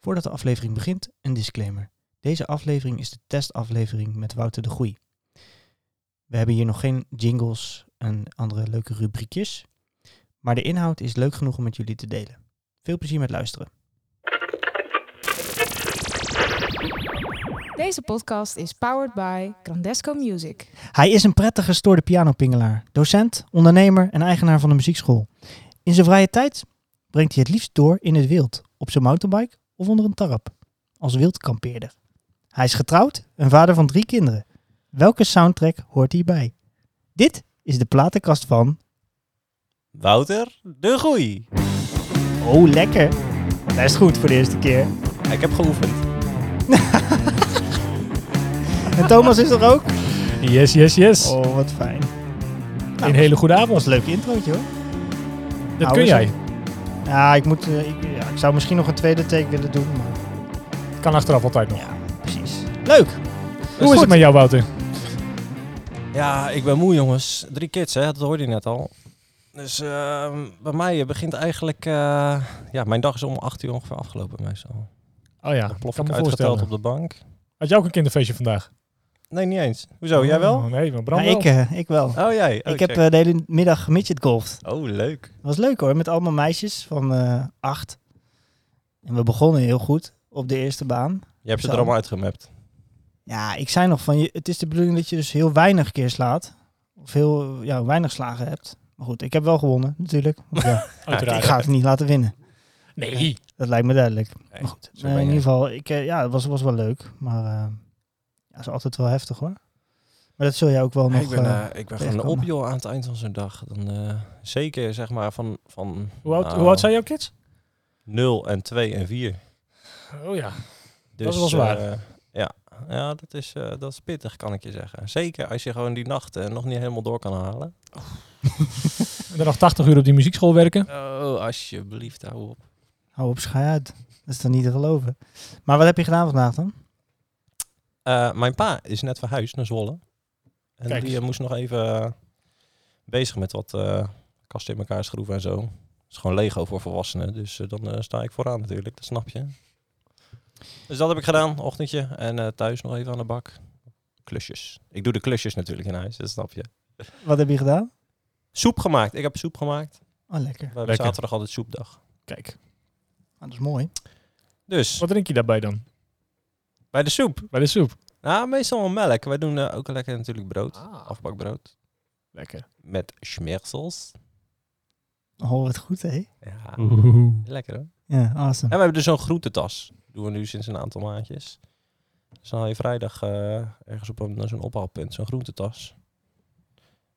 Voordat de aflevering begint, een disclaimer. Deze aflevering is de testaflevering met Wouter de Groei. We hebben hier nog geen jingles en andere leuke rubriekjes, maar de inhoud is leuk genoeg om met jullie te delen. Veel plezier met luisteren. Deze podcast is powered by Grandesco Music. Hij is een prettig gestoorde pianopingelaar, docent, ondernemer en eigenaar van een muziekschool. In zijn vrije tijd brengt hij het liefst door in het wild, op zijn mountainbike of onder een tarp, als wildkampeerder. Hij is getrouwd en vader van drie kinderen. Welke soundtrack hoort hierbij? Dit is de platenkast van Wouter de Groei. Oh Lekker. Best goed voor de eerste keer. Ik heb geoefend. En Thomas is er ook. Yes, yes, yes. Oh, wat fijn. Nou, een hele goede Dat was avond. een leuk introotje hoor. Dat Nou, kun is jij. Ja, ik, moet, eh, ik, ja, ik zou misschien nog een tweede take willen doen, maar Kan achteraf altijd nog. ja, precies. Leuk! Hoe is goed. het met jou, Wouter? Ja, ik ben moe jongens. Drie kids, hè? dat hoorde je net al. Dus ehm, bij mij begint eigenlijk... eh, ja, mijn dag is om acht uur ongeveer afgelopen meestal. Oh ja, Dan plof kan ik me uitgeteld voorstellen. op de bank. Had jij ook een kinderfeestje vandaag? Nee, niet eens. Hoezo, jij wel? Oh, nee, maar Ja, Bram wel. ik, eh, ik wel. Oh, jij. Oh, ik heb check. eh, de hele middag midget golfd. eh, Oh, leuk. was leuk hoor, met allemaal meisjes van eh, acht. En we begonnen heel goed op de eerste baan. Je hebt ze Zo. er allemaal uitgemapt. Ja, ik zei nog van, je, het is de bedoeling dat je dus heel weinig keer slaat. Of heel ja, weinig slagen hebt. Maar goed, ik heb wel gewonnen natuurlijk. Want ja, eh, ik Oh, Uiteraard. ga het niet laten winnen. Nee. Dat lijkt me duidelijk. Nee, maar goed, zo eh, ben in jij. ieder geval, ik, eh, ja, het was, was wel leuk. Maar eh ja, is altijd wel heftig hoor. Maar dat zul jij ook wel nog... ik ben, eh, eh, ik ben gewoon tegenkomen. op, joh, aan het eind van zo'n dag. Dan, eh, zeker, zeg maar, van, van Hoe oud, Nou. hoe oud zijn jouw kids? 0 en 2 en 4. Oh ja. Dus, Dat is wel zwaar. eh, ja, ja dat, is, eh, dat is pittig, kan ik je zeggen. Zeker als je gewoon die nacht eh, nog niet helemaal door kan halen. En dan nog 80 uur op die muziekschool werken. Oh, alsjeblieft, hou op. Hou op, schei uit. Dat is dan niet te geloven. Maar wat heb je gedaan vandaag dan? Eh, mijn pa is net verhuisd naar Zwolle. En Kijk die eens. eh, moest nog even eh, bezig met wat eh, kasten in elkaar schroeven en zo. Het is gewoon Lego voor volwassenen, dus eh, dan eh, sta ik vooraan natuurlijk, dat snap je. Dus dat heb ik gedaan, ochtendje. En eh, thuis nog even aan de bak. Klusjes. Ik doe de klusjes natuurlijk in huis, dat snap je. Wat heb je gedaan? Soep gemaakt, ik heb soep gemaakt. Oh, lekker. We hebben Lekker. zaterdag altijd soepdag. Kijk. Ah, dat is mooi. Dus Wat drink je daarbij dan? bij de soep. Bij de soep. Nou, meestal wel melk. Wij doen eh, ook lekker natuurlijk brood. Ah. Afbakbrood. Lekker. Met schmersels. Oh, wat goed, hè? Ja, Oeh. lekker hoor. Ja, En awesome. we hebben dus zo'n groentetas. Doen we nu sinds een aantal maandjes. Dus dan haal je vrijdag eh, ergens op een, naar zo'n ophaalpunt zo'n groentetas.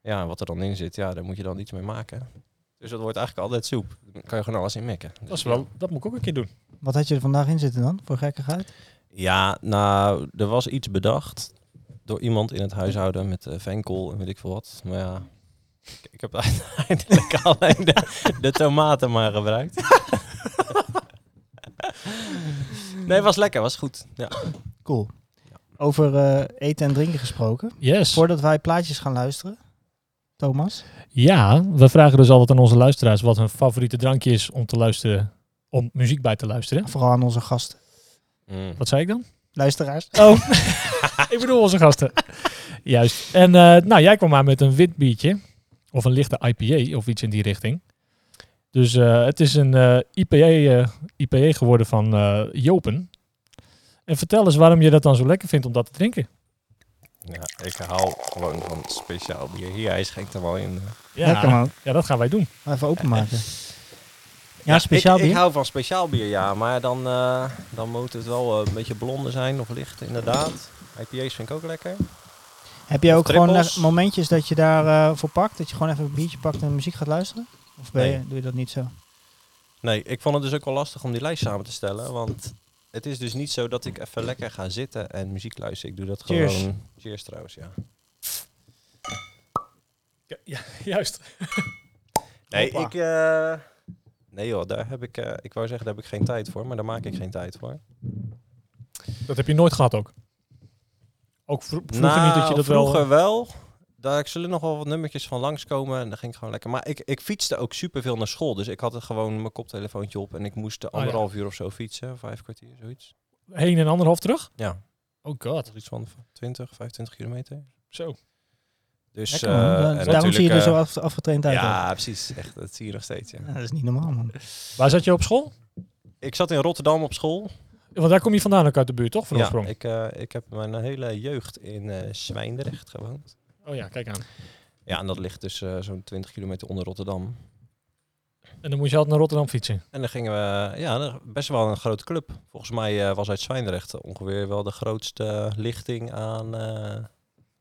Ja, en wat er dan in zit, ja, daar moet je dan iets mee maken. Dus dat wordt eigenlijk altijd soep. Dan kan je gewoon alles in mekken. Dat, is wel, dat moet ik ook een keer doen. Wat had je er vandaag in zitten dan, voor gekkigheid? Ja, nou, er was iets bedacht door iemand in het huishouden met eh venkool en weet ik veel wat. Maar ja, ik, ik heb uiteindelijk alleen de, de tomaten maar gebruikt. nee, was lekker, was goed. Ja. Cool. Over eh, eten en drinken gesproken. Yes. Voordat wij plaatjes gaan luisteren, Thomas. Ja, we vragen dus altijd aan onze luisteraars wat hun favoriete drankje is om te luisteren. Om muziek bij te luisteren. Vooral aan onze gasten. Mm. Wat zei ik dan? Luisteraars. Oh, ik bedoel onze gasten. Juist. En eh, nou, jij kwam maar met een wit biertje. Of een lichte IPA of iets in die richting. Dus eh, het is een eh, IPA, eh, IPA geworden van eh, Jopen. En vertel eens waarom je dat dan zo lekker vindt om dat te drinken. Ja, ik hou gewoon van speciaal bier. Hier, hij schenkt er wel in. eh. Lekker man. ja dat gaan wij doen. Maar Even openmaken. Ja, Ah, speciaal ik, bier. Ik hou van speciaal bier, ja. Maar dan, eh, dan moet het wel eh, een beetje blonde zijn of licht, inderdaad. IPA's vind ik ook lekker. Heb jij of ook gewoon trippels. eh, momentjes dat je daar eh, voor pakt? Dat je gewoon even een biertje pakt en muziek gaat luisteren? Of ben je, Nee. doe je dat niet zo? Nee, ik vond het dus ook wel lastig om die lijst samen te stellen. Want het is dus niet zo dat ik even lekker ga zitten en muziek luister. Ik doe dat Cheers. gewoon. Cheers trouwens, ja. juist. Nee, Hoppa. ik. eh, nee joh, daar heb ik. eh, ik wou zeggen, daar heb ik geen tijd voor. Maar daar maak ik geen tijd voor. Dat heb je nooit gehad ook. Ook vro- vroeger Nou, niet dat je dat wel... Vroeger wel. daar zullen nog wel wat nummertjes van langskomen. En dan ging ik gewoon lekker. Maar ik, ik fietste ook superveel naar school. Dus ik had er gewoon mijn koptelefoontje op. En ik moest de Ah, ja. anderhalf uur of zo fietsen. Vijf kwartier, zoiets. Heen en anderhalf terug? Ja, Oh god. dat is iets van 20, 25 kilometer. Zo. Dus Lekker, eh, man. Da- en Oh, Daarom natuurlijk, zie je er dus eh, zo af, afgetraind uit. ook. Ja, precies. Echt, dat zie je nog steeds. Ja. Ja, dat is niet normaal, man. Waar zat je op school? Ik zat in Rotterdam op school. Want daar kom je vandaan ook uit de buurt, toch? Van Ja, oorsprong? ik, eh, ik heb mijn hele jeugd in eh Zwijndrecht gewoond. Oh ja, kijk aan. Ja, en dat ligt dus eh, zo'n 20 kilometer onder Rotterdam. En dan moest je altijd naar Rotterdam fietsen. En dan gingen we, ja, dat- best wel een grote club. Volgens mij eh, was uit Zwijndrecht ongeveer wel de grootste eh, lichting aan... eh,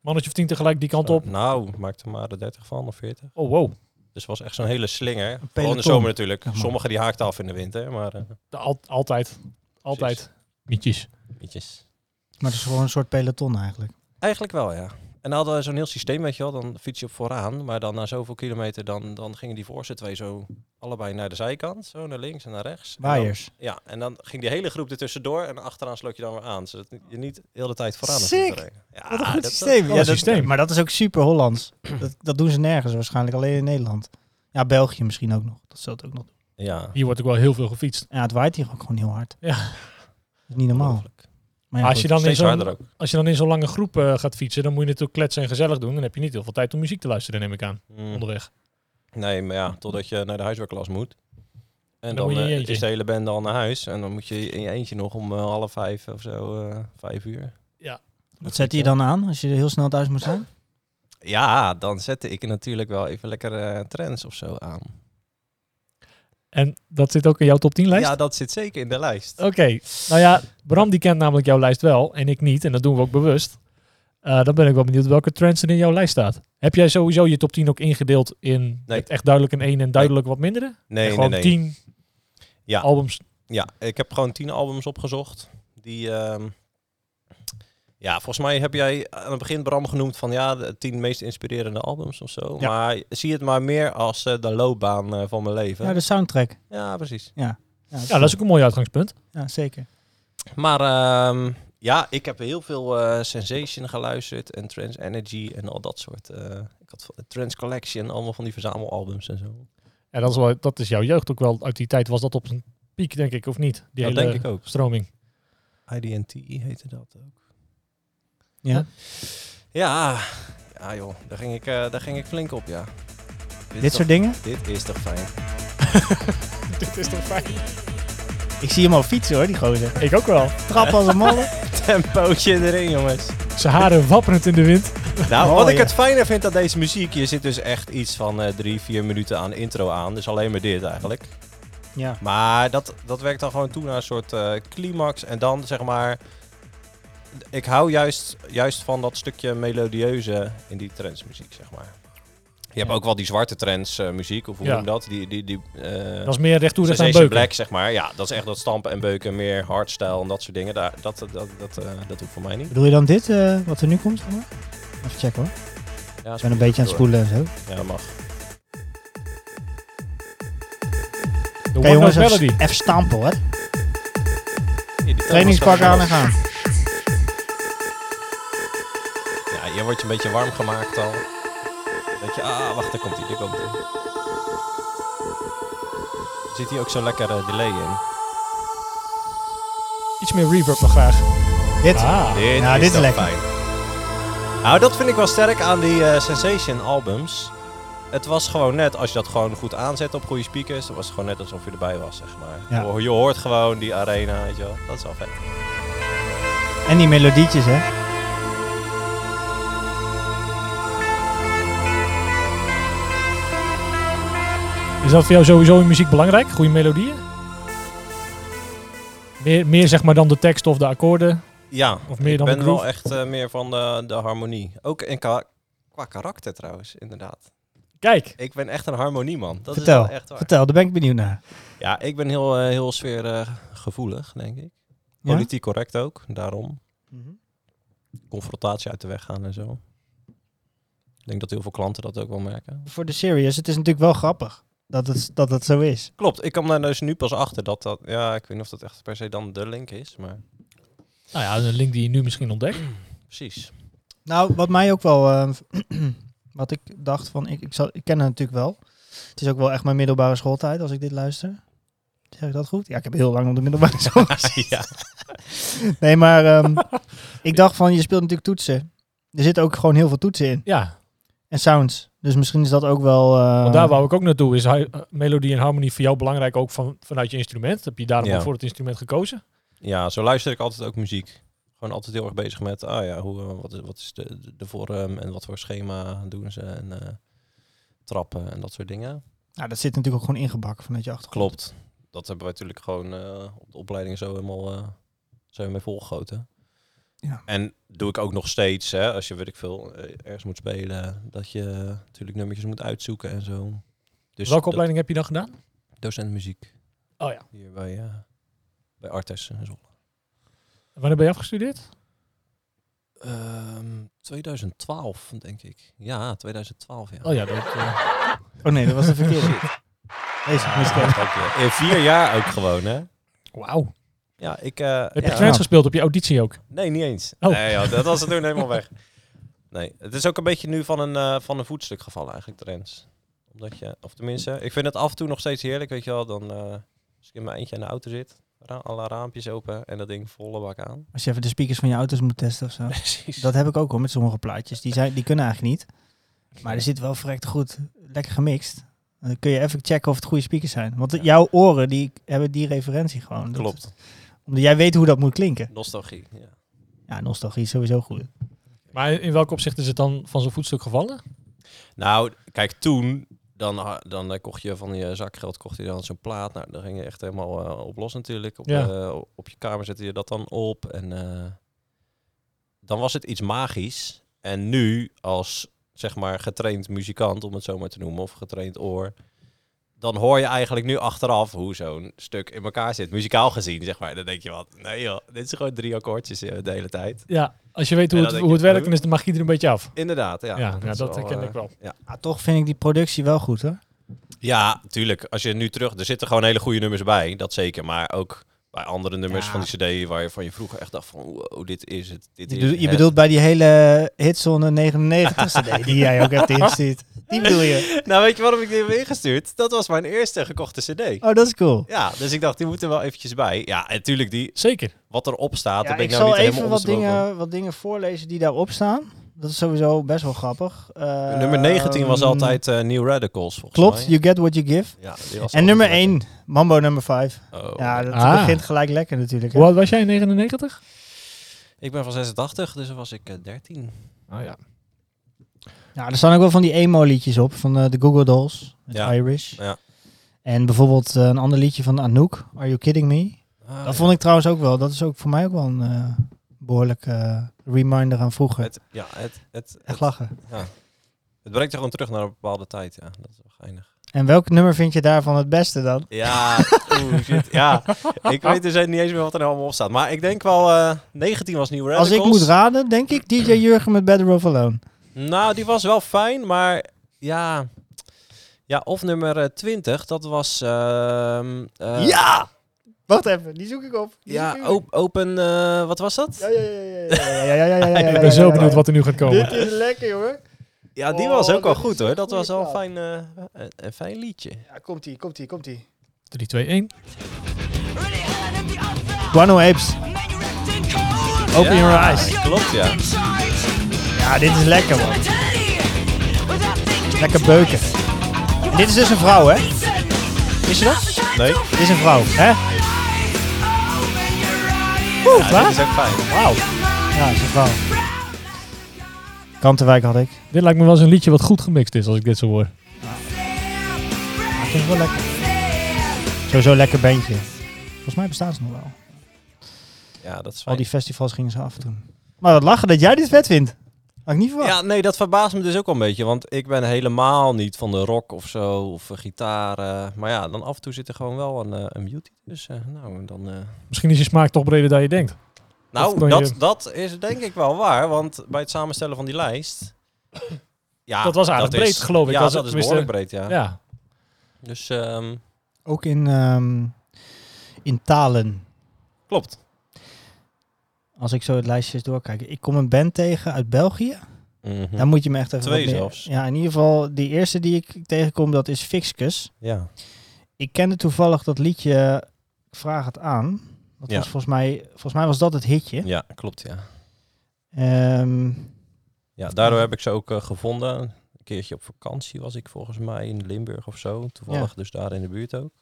Mannetje of tien tegelijk die kant op. Nou, maak er maar de 30 van of 40. Oh wow. Dus het was echt zo'n hele slinger. Vooral in de peloton. zomer natuurlijk. Ja, man. Sommigen die haakten af in de winter, maar... eh De al- altijd. Altijd. Mietjes. nietjes. Maar het is gewoon een soort peloton eigenlijk. Eigenlijk wel, ja. En dan hadden we zo'n heel systeem, weet je wel. Dan fiets je op vooraan, maar dan na zoveel kilometer... dan, dan gingen die voorste twee zo allebei naar de zijkant. Zo naar links en naar rechts. En dan- Waaiers. ja, en dan ging die hele groep ertussendoor... en achteraan sloot je dan weer aan, zodat je niet de hele tijd vooraan hoeft Sick! te rijden. Ja, Wat een goed Ah, dat- systeem. dat is een systeem. Maar dat is ook super Hollands. Dat, dat doen ze nergens waarschijnlijk, alleen in Nederland. Ja, België misschien ook nog. Dat zal het ook nog doen. dat- ja, Hier wordt ook wel heel veel gefietst. Ja, het waait hier ook gewoon heel hard. Ja. Dat is niet normaal. ongelooflijk. Maar Maar ja, als je, goed. dan in Steeds harder zo'n, ook. als je dan in zo'n lange groep eh, gaat fietsen, dan moet je natuurlijk kletsen en gezellig doen. Dan heb je niet heel veel tijd om muziek te luisteren, neem ik aan, Mm. onderweg. Nee, maar ja, totdat je naar de huiswerkklas moet. En Dan dan, moet je in je eh, eentje. is de hele band al naar huis. En dan moet je in je eentje nog om eh, half vijf of zo, eh, vijf uur. Wat zet je dan aan als je heel snel thuis moet zijn? Ja, dan zette ik er natuurlijk wel even lekker eh, trends of zo aan. En dat zit ook in jouw top 10 lijst? Ja, dat zit zeker in de lijst. Oké, nou ja, Bram die kent namelijk jouw lijst wel en ik niet. En dat doen we ook bewust. Eh, dan ben ik wel benieuwd welke trends er in jouw lijst staat. Heb jij sowieso je top 10 ook ingedeeld in Nee. het echt duidelijk een 1 en duidelijk wat mindere? En Nee, nee, gewoon nee. 10 Ja. albums. Ja, ik heb gewoon tien albums opgezocht. Die, ehm, ja, volgens mij heb jij aan het begin Bram genoemd van ja, de tien meest inspirerende albums of zo. Ja. Maar zie het maar meer als eh, de loopbaan eh, van mijn leven. Ja, Ja, de soundtrack. precies. Ja, dat is ook een mooi uitgangspunt. Ja, zeker. Maar ehm, ja, ik heb heel veel eh, Sensation geluisterd en Trans Energy en al dat soort. eh, ik had van- Trans Collection, allemaal van die verzamelalbums en zo. En dat is, wel, dat is jouw jeugd ook wel. Uit die tijd was dat op zijn piek, denk ik, of niet? Die dat hele denk ik ook. stroming. IDNT heette dat ook. Ja. Ja, ja joh, daar ging ik, eh, daar ging ik flink op, ja. Dit, Dit is toch- soort dingen. Dit is toch fijn. Dit is toch fijn? Ik zie hem al fietsen hoor, die gozer. Ik ook wel. Trap als een malle. Tempootje erin, jongens. Zijn haren wapperend in de wind. Nou, Oh, wat ik ja. het fijne vind aan deze muziek, je zit dus echt iets van eh, drie, vier minuten aan de intro aan. Dus alleen maar dit eigenlijk. Ja. Maar dat, dat werkt dan gewoon toe naar een soort eh, climax. En dan zeg maar. Ik hou juist, juist van dat stukje melodieuze in die trendsmuziek, zeg maar. Je hebt Ja. ook wel die zwarte trendsmuziek, muziek, of hoe Ja. noem je dat? Die, die, die, eh, Dat is meer recht toe, recht aan Sensation beuken. Black, zeg maar. Ja, dat is echt dat stampen en beuken, meer hardstyle en dat soort dingen. Daar, dat, dat, dat, dat, eh, dat hoeft voor mij niet. Bedoel je dan dit, eh, wat er nu komt? zeg maar? Even checken hoor. Ja, Ik ben een beetje aan het spoelen en zo. Oké Ja, dat mag. De One Note jongens, Melody. even, even stampen hoor. Ja, die Trainingspak telefoon aan staat en gaan. erop. Ja, je wordt je een beetje warm gemaakt al. Dat je, ah, wacht, daar komt hij, daar komt hij. Er zit hier ook zo'n lekker eh, delay in. Iets meer reverb nog graag. Dit. Ah. Dit, Ja, is, dit is toch lekker. fijn. Nou, dat vind ik wel sterk aan die eh, Sensation albums. Het was gewoon net, als je dat gewoon goed aanzet op goede speakers, dan was het gewoon net alsof je erbij was, zeg maar. Ja. Je, je hoort gewoon die arena, weet je wel. Dat is wel vet. En die melodietjes hè. Is dat voor jou sowieso in muziek belangrijk? Goede melodieën? Meer, meer zeg maar dan de tekst of de akkoorden? Ja, Of meer dan ik de ben wel groove? echt eh, meer van de, de harmonie. Ook in ka- qua karakter trouwens, inderdaad. Kijk, Ik ben echt een harmonieman. Dat Vertel, is wel echt waar. Vertel, daar ben ik benieuwd naar. Ja, ik ben heel, eh, heel sfeergevoelig, denk ik. Ja? Mhm. Politiek correct ook, daarom. Confrontatie uit de weg gaan en zo. Ik denk dat heel veel klanten dat ook wel merken. Voor de serious, het is natuurlijk wel grappig dat het, dat het zo is. Klopt, ik kwam daar dus nu pas achter dat dat... Ja, ik weet niet of dat echt per se dan de link is, maar nou ja, een link die je nu misschien ontdekt. precies. Nou, wat mij ook wel eh, Wat ik dacht van, ik, ik, zal, ik ken het natuurlijk wel. Het is ook wel echt mijn middelbare schooltijd als ik dit luister. Zeg ik dat goed? Ja, ik heb heel lang op de middelbare school. ja. Nee, maar ehm, ik dacht van, je speelt natuurlijk toetsen. Er zitten ook gewoon heel veel toetsen in. Ja, En sounds. Dus misschien is dat ook wel... eh, want daar wou ik ook naartoe. Is hy- eh, melodie en harmonie voor jou belangrijk ook van, vanuit je instrument? Heb je daarom Ja. ook voor het instrument gekozen? ja, zo luister ik altijd ook muziek. Gewoon altijd heel erg bezig met, ah ja, hoe, eh, wat, is, wat is de, de- de vorm en wat voor schema doen ze en eh, trappen en dat soort dingen. nou, dat zit natuurlijk ook gewoon ingebakken vanuit je achtergrond. Klopt. Dat hebben wij natuurlijk gewoon eh, op de opleiding zo helemaal eh zijn we mee volgegoten. Ja. En doe ik ook nog steeds, hè, als je weet ik veel, eh, ergens moet spelen, dat je natuurlijk nummertjes moet uitzoeken en zo. Dus Welke dat- opleiding heb je dan gedaan? Docent muziek Oh ja. hier bij, eh bij Artes en zo. Wanneer ben je afgestudeerd? Ehm, 2012, denk ik. Ja, 2012, ja. Oh ja, dat, eh, Oh nee, dat was de verkeerde. Deze, miskennen. Dank je. In vier jaar ook gewoon, hè? wauw. Ja, ik... eh, Heb je ja. instrumenten gespeeld op je auditie ook? Nee, niet eens. Oh. Nee, joh, dat was het toen helemaal weg. Nee, het is ook een beetje nu van een, eh, van een voetstuk gevallen eigenlijk, de Rens. Omdat je, of tenminste, ik vind het af en toe nog steeds heerlijk, weet je wel. Dan, eh, als ik in mijn eentje in de auto zit, ra alle raampjes open en dat ding volle bak aan. Als je even de speakers van je auto's moet testen of zo. Precies. Dat heb ik ook hoor, met sommige plaatjes. Die, zijn, die kunnen eigenlijk niet. Maar er zit wel verrekt goed, lekker gemixt. En Dan kun je even checken of het goede speakers zijn. Want jouw oren die hebben die referentie gewoon. Dat- Klopt. omdat jij weet hoe dat moet klinken. Nostalgie, ja. Ja, nostalgie is sowieso goed. Maar in welk opzicht is het dan van zo'n voetstuk gevallen? Nou, kijk, toen, dan, ha- dan eh, kocht je van je zakgeld kocht je dan zo'n plaat. Nou, daar ging je echt helemaal eh, op los natuurlijk. Op, Ja. eh, op je kamer zette je dat dan op. En eh, dan was het iets magisch. En nu, als zeg maar getraind muzikant, om het zo maar te noemen, of getraind oor... Dan hoor je eigenlijk nu achteraf hoe zo'n stuk in elkaar zit, muzikaal gezien, zeg maar. Dan denk je wat, nee joh, dit is gewoon drie akkoordjes eh, de hele tijd. Ja, als je weet hoe Ja, het, dat hoe denk het ik. werkt, dan is de magie er een beetje af. Inderdaad, ja. Ja, ja, is dat wel, herken eh, ik wel. Maar toch vind ik die productie wel goed hoor. Ja, tuurlijk. Als je nu terug... Er zitten gewoon hele goede nummers bij, dat zeker. Maar ook bij andere nummers Ja. van die cd waar je van je vroeger echt dacht van... Wow, dit is het. Dit Je, is bedoelt- je het. bedoelt bij die hele hitzone 99 CD die jij ook hebt ingestuurd. Die bedoel je. Nou, weet je waarom ik die heb ingestuurd? Dat was mijn eerste gekochte cd. Oh, dat is cool. Ja, dus ik dacht, die moeten wel eventjes bij. Ja, en tuurlijk, die, Zeker. wat erop staat, Ja, daar ben ik ik, nou zal niet even helemaal wat ondersteboven. dingen, wat dingen voorlezen die daarop staan. Dat is sowieso best wel grappig. Eh, Nummer 19 was ehm, altijd eh, New Radicals, volgens Klopt, mij. you get what you give. Ja, die was En nummer altijd 1, Mambo nummer 5. lekker. Oh. Ja, dat Ah. begint gelijk lekker natuurlijk. hè. Hoe oud was jij in 99? Ik ben van 86, dus dan was ik eh, 13. Ah ja. Ja, er staan ook wel van die emo-liedjes op, van eh, de Google Dolls, met Ja. Irish. Ja. En bijvoorbeeld eh, een ander liedje van Anouk, Are You Kidding Me? Ah, dat vond ik trouwens ook wel, dat is ook voor mij ook wel een eh, behoorlijke eh, reminder aan vroeger. Het, ja, het, het, Echt het, lachen. het brengt je gewoon terug naar een bepaalde tijd, ja. Dat is wel geinig. En welk nummer vind je daarvan het beste dan? Ja, oeh, shit. Ja, ik weet dus niet eens meer wat er nou allemaal op staat. Maar ik denk wel, eh, 19 was nieuw Radicals. Als ik moet raden, denk ik DJ Jurgen met Better Off Alone. Nou, die was wel fijn, maar ja... Ja, of nummer eh, 20, dat was... ehm, eh, ja! Wacht even, die zoek ik op. Die zoek Ja, ik op. op- open... eh, wat was dat? Ja, ja, ja, ja, ja, ja, ja, ja, ja, ja, ja, Ik ja, ben zo ja, benieuwd ja. wat er nu gaat komen. Dit is lekker, jongen. Ja, die Oh, was ook wel dat is goed, een hoor. Dat goede was wel een plaat. fijn, eh, een, een fijn liedje. Ja, komt-ie, komt-ie, komt-ie. 3, 2, 1. Guano Apes. Open Ja, your eyes. Klopt, ja. Ja, dit is lekker, man. Lekker beuken. En dit is dus een vrouw, hè? Wist je dat? Nee, Dit is een vrouw, hè? Oeh, ja, waar? dit is ook fijn. Wauw. Ja, het is een vrouw. Kantenwijk had ik. Dit lijkt me wel eens een liedje wat goed gemixt is, als ik dit zo hoor. Dat vind ik wel lekker. Sowieso lekker bandje. Volgens mij bestaan ze nog wel. Ja, dat is Al fijn. die festivals gingen ze af toen. Maar wat lachen dat jij dit vet vindt. Had ik niet verwacht. Ja, nee, dat verbaast me dus ook wel een beetje. Want ik ben helemaal niet van de rock of zo, of eh, gitaar. eh, maar ja, dan af en toe zit er gewoon wel een, eh, een beauty tussen. nou, en dan, eh, Misschien is je smaak toch breder dan je denkt. Of nou kan dat, je- dat is denk ik wel waar. Want bij het samenstellen van die lijst... Ja, Dat was aardig breed, is- geloof ik. Ja, Was dat, het- is tenminste- behoorlijk breed, ja. Ja. Dus ehm, Ook in, ehm, in talen. klopt. Als ik zo het lijstje eens doorkijk. Ik kom een band tegen uit België. Mhm. Dan moet je me echt even Twee wat meer- zelfs. Ja, in ieder geval, die eerste die ik tegenkom, dat is Fixkus. Ja. Ik, Ik kende toevallig dat liedje Ik Vraag het aan. Dat Ja. was volgens mij, volgens mij was dat het hitje. ja, klopt ja. Ehm, Ja, daardoor heb ik ze ook eh, gevonden. Een keertje op vakantie was ik volgens mij in Limburg of zo. Toevallig dus daar in de buurt ook.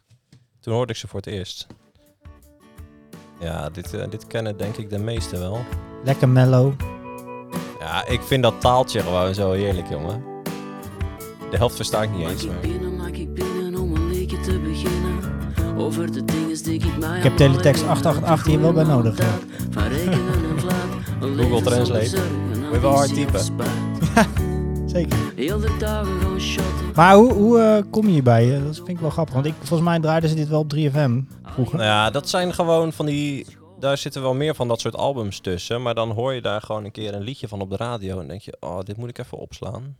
Toen hoorde ik ze voor het eerst. Ja, dit, eh, dit kennen denk ik de meesten wel. lekker mellow. Ja, ik vind dat taaltje gewoon zo heerlijk, jongen. De helft versta ik niet eens Maak ik meer. binnen, maak ik binnen om een leekje te beginnen. Over de dingen die ik mij Ik heb teletext 888 hier wel bij nodig, ja. Van rekenen en vlak. Een leven zonder Translate. zorgen, je wel hard ambitie typen. of spijt. Zeker. Heel de dagen gewoon shotten. Maar hoe, hoe eh, kom je hierbij? Eh, Dat vind ik wel grappig. Want ik, volgens mij draaiden ze dit wel op 3FM vroeger. Nou ja, dat zijn gewoon van die... Daar zitten wel meer van dat soort albums tussen. Maar dan hoor je daar gewoon een keer een liedje van op de radio. En denk je, oh, dit moet ik even opslaan.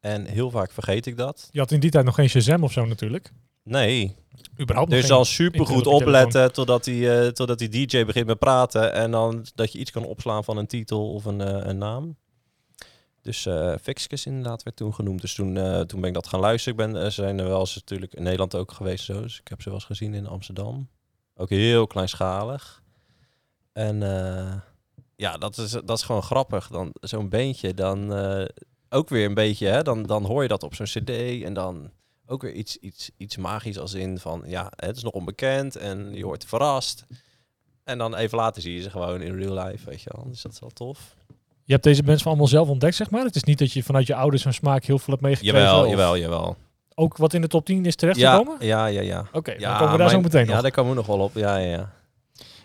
En heel vaak vergeet ik dat. Je had in die tijd nog geen Shazam of zo natuurlijk. Nee, Überhaupt nog dus geen. dan supergoed internet op je opletten totdat die, eh, totdat die DJ begint met praten. En dan dat je iets kan opslaan van een titel of een, eh, een naam. Dus eh Fixkes inderdaad werd toen genoemd. Dus toen, eh, toen ben ik dat gaan luisteren. Ik ben, eh, ze zijn er wel eens natuurlijk in Nederland ook geweest. Zo. Dus ik heb ze wel eens gezien in Amsterdam. Ook heel kleinschalig. En eh, ja, dat is, dat is gewoon grappig. Dan Zo'n beentje, dan eh, ook weer een beetje, hè, dan, dan hoor je dat op zo'n cd en dan ook weer iets, iets, iets magisch als in van, ja, het is nog onbekend en je wordt verrast. En dan even later zie je ze gewoon in real life, weet je wel. Dus dat is wel tof. Je hebt deze mensen allemaal zelf ontdekt, zeg maar. Het is niet dat je vanuit je ouders een smaak heel veel hebt meegekregen. Jawel, of jawel, jawel. Ook wat in de top 10 is Ja, terechtgekomen? ja, ja, ja. Oké, ja, dan komen we daar zo mijn- meteen Ja, op. daar komen we nog wel op. Ja, ja, ja.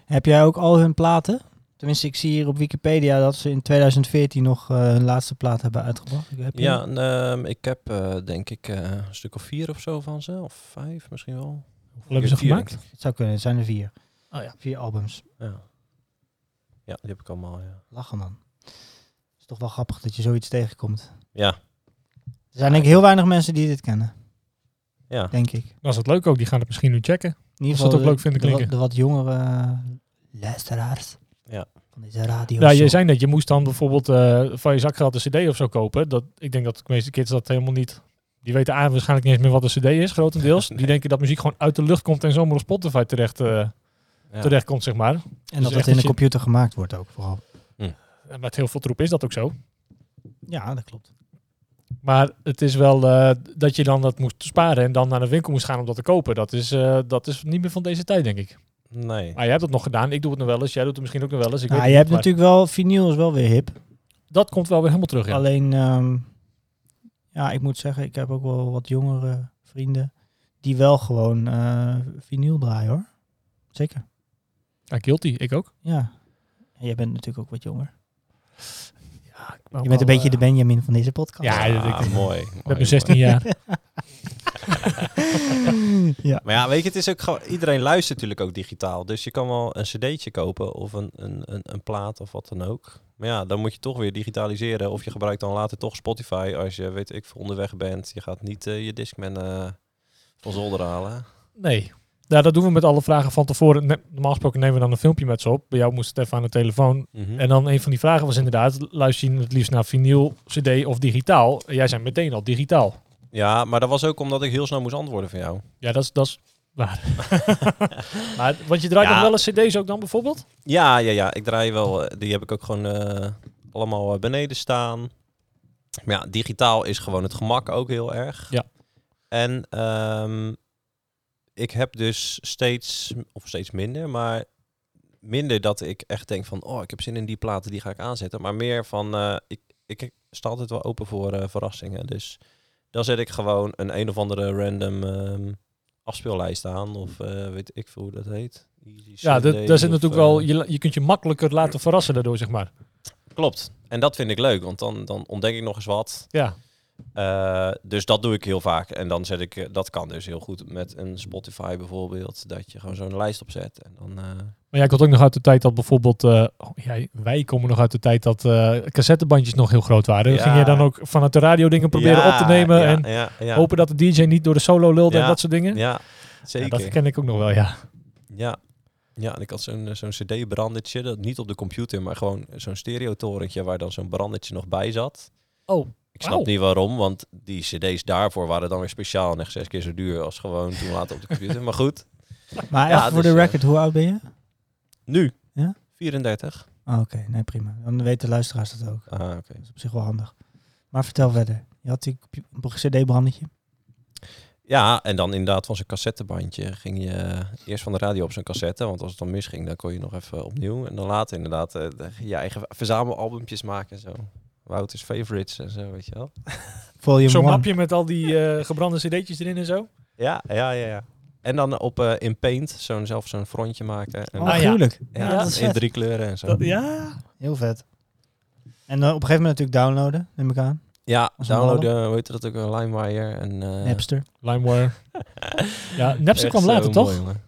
Heb jij ook al hun platen? Tenminste, ik zie hier op Wikipedia dat ze in 2014 nog eh, hun laatste plaat hebben uitgebracht. Heb je Ja, hem? en, ehm, ik heb eh, denk ik eh, een stuk of vier of zo van ze. Of vijf misschien wel. Hoeveel hebben ze Vier, gemaakt? denk ik. Het zou kunnen, het zijn er vier. Oh ja. Vier albums. Ja. ja, die heb ik allemaal, ja. Lachen man. Het is toch wel grappig dat je zoiets tegenkomt. Ja, Er zijn denk ik heel weinig mensen die dit kennen, ja. denk ik. Dan is dat leuk ook. Die gaan het misschien nu checken. In ieder Als ze het ook de- leuk vinden de wat- klinken. De, wat jongere eh, luisteraars Ja. van deze radio. Ja, Nou, je show. zei net, je moest dan bijvoorbeeld eh, van je zakgeld een cd of zo kopen. Dat, ik denk dat de meeste kids dat helemaal niet... Die weten A, waarschijnlijk niet eens meer wat een cd is, grotendeels. Nee. Die denken dat muziek gewoon uit de lucht komt en zomaar op Spotify terecht, eh, ja. terecht komt, zeg maar. en dat dat echt in dat de je- computer gemaakt wordt ook vooral. En Met heel veel troep is dat ook zo. Ja, dat klopt. Maar het is wel eh, dat je dan dat moest sparen en dan naar de winkel moest gaan om dat te kopen. Dat is, eh, dat is niet meer van deze tijd, denk ik. Nee. Maar jij hebt dat nog gedaan. Ik doe het nog wel eens. Jij doet het misschien ook nog wel eens. Ik Nou, weet je het hebt niet, maar natuurlijk wel, vinyl is wel weer hip. Dat komt wel weer helemaal terug. Ja. Alleen, ehm, ja, ik moet zeggen, ik heb ook wel wat jongere vrienden die wel gewoon eh vinyl draaien hoor. Zeker. Ja, Ah, guilty. Ik ook. Ja. En jij bent natuurlijk ook wat jonger. Ja, ik Nou, Je bent een eh, beetje de Benjamin van deze podcast. eh, Ja, dat ik- mooi. Met mooi, mijn 16 jaar. ja. Maar ja, weet je, het is ook gewoon, iedereen luistert natuurlijk ook digitaal. Dus je kan wel een cd'tje kopen of een, een, een, een plaat of wat dan ook. Maar ja, dan moet je toch weer digitaliseren. Of je gebruikt dan later toch Spotify als je, weet ik, veel, onderweg bent. Je gaat niet eh, je Discman eh, van zolder halen. Nee. Ja, dat doen we met alle vragen van tevoren. Ne- Normaal gesproken nemen we dan een filmpje met ze op. Bij jou moest het even aan de telefoon. En dan een van die vragen was inderdaad, luister je het liefst naar vinyl, cd of digitaal? En Jij zei meteen al digitaal. Ja, maar dat was ook omdat ik heel snel moest antwoorden van jou. Ja, dat is, dat is waar. maar, want je draait Ja. nog wel eens cd's ook dan bijvoorbeeld? Ja, ja, ja. Ik draai wel. eh, Die heb ik ook gewoon eh, allemaal eh, beneden staan. Maar ja, digitaal is gewoon het gemak ook heel erg. Ja. En ehm, ik heb dus steeds, of steeds minder, maar minder dat ik echt denk van, oh, ik heb zin in die platen, die ga ik aanzetten. Maar meer van, eh, ik, ik sta altijd wel open voor eh, verrassingen. Dus dan zet ik gewoon een een of andere random ehm, afspeellijst aan. Of eh, weet ik veel hoe dat heet. Easy Ja, dat, Sunday daar zit of, natuurlijk eh, wel, je, la- je kunt je makkelijker laten verrassen daardoor, zeg maar. Klopt. En dat vind ik leuk, want dan, dan ontdek ik nog eens wat. Ja, Eh, dus dat doe ik heel vaak. En dan zet ik, eh, dat kan dus heel goed met een Spotify bijvoorbeeld, dat je gewoon zo'n lijst opzet. En dan, eh, maar jij komt ook nog uit de tijd dat bijvoorbeeld, eh, oh, jij, wij komen nog uit de tijd dat eh cassettebandjes nog heel groot waren. Ja. Ging jij dan ook vanuit de radio dingen proberen Ja, op te nemen ja, en ja, ja, hopen dat de DJ niet door de solo lulde en Ja. dat soort dingen? Ja, Ja, zeker. dat ken ik ook nog wel, ja. Ja. Ja, en ik had zo'n eh, zo'n cd-brandertje, dat niet op de computer, maar gewoon zo'n stereotorentje waar dan zo'n brandertje nog bij zat. Oh, Ik snap wauw. niet waarom, want die cd's daarvoor waren dan weer speciaal en echt zes keer zo duur als gewoon toen later op de computer. Maar goed, Maar Ja, even voor dus, de eh, record, hoe oud ben je? nu. Ja? 34. Ah, Oké, nee prima. Dan weten de luisteraars dat ook. Ah, oké. Dat is op zich wel handig. Maar vertel verder. Je had die cd-brandetje. Ja, en dan inderdaad van zo'n cassettebandje ging je eh, eerst van de radio op zo'n cassette, want als het dan misging, dan kon je nog even opnieuw. En dan later inderdaad eh, de- je eigen verzamelalbumpjes maken en zo. Wouter's favorites en zo, weet je wel. Volume Zo'n one. mapje met al die eh, gebrande cd'tjes erin en zo. Ja, ja, ja, ja. En dan op eh, in Paint zo'n, zelf zo'n frontje maken. En, Oh, Ah, ja. gruwelijk. ja, ja, dat is in vet. drie kleuren en zo. ja. Heel vet. En dan op een gegeven moment natuurlijk downloaden, neem ik aan. ja, Als een downloaden, hoe heet dat ook, eh, LimeWire en... eh Napster. LimeWire. ja, Napster echt kwam zo later, mooi, toch? jongen.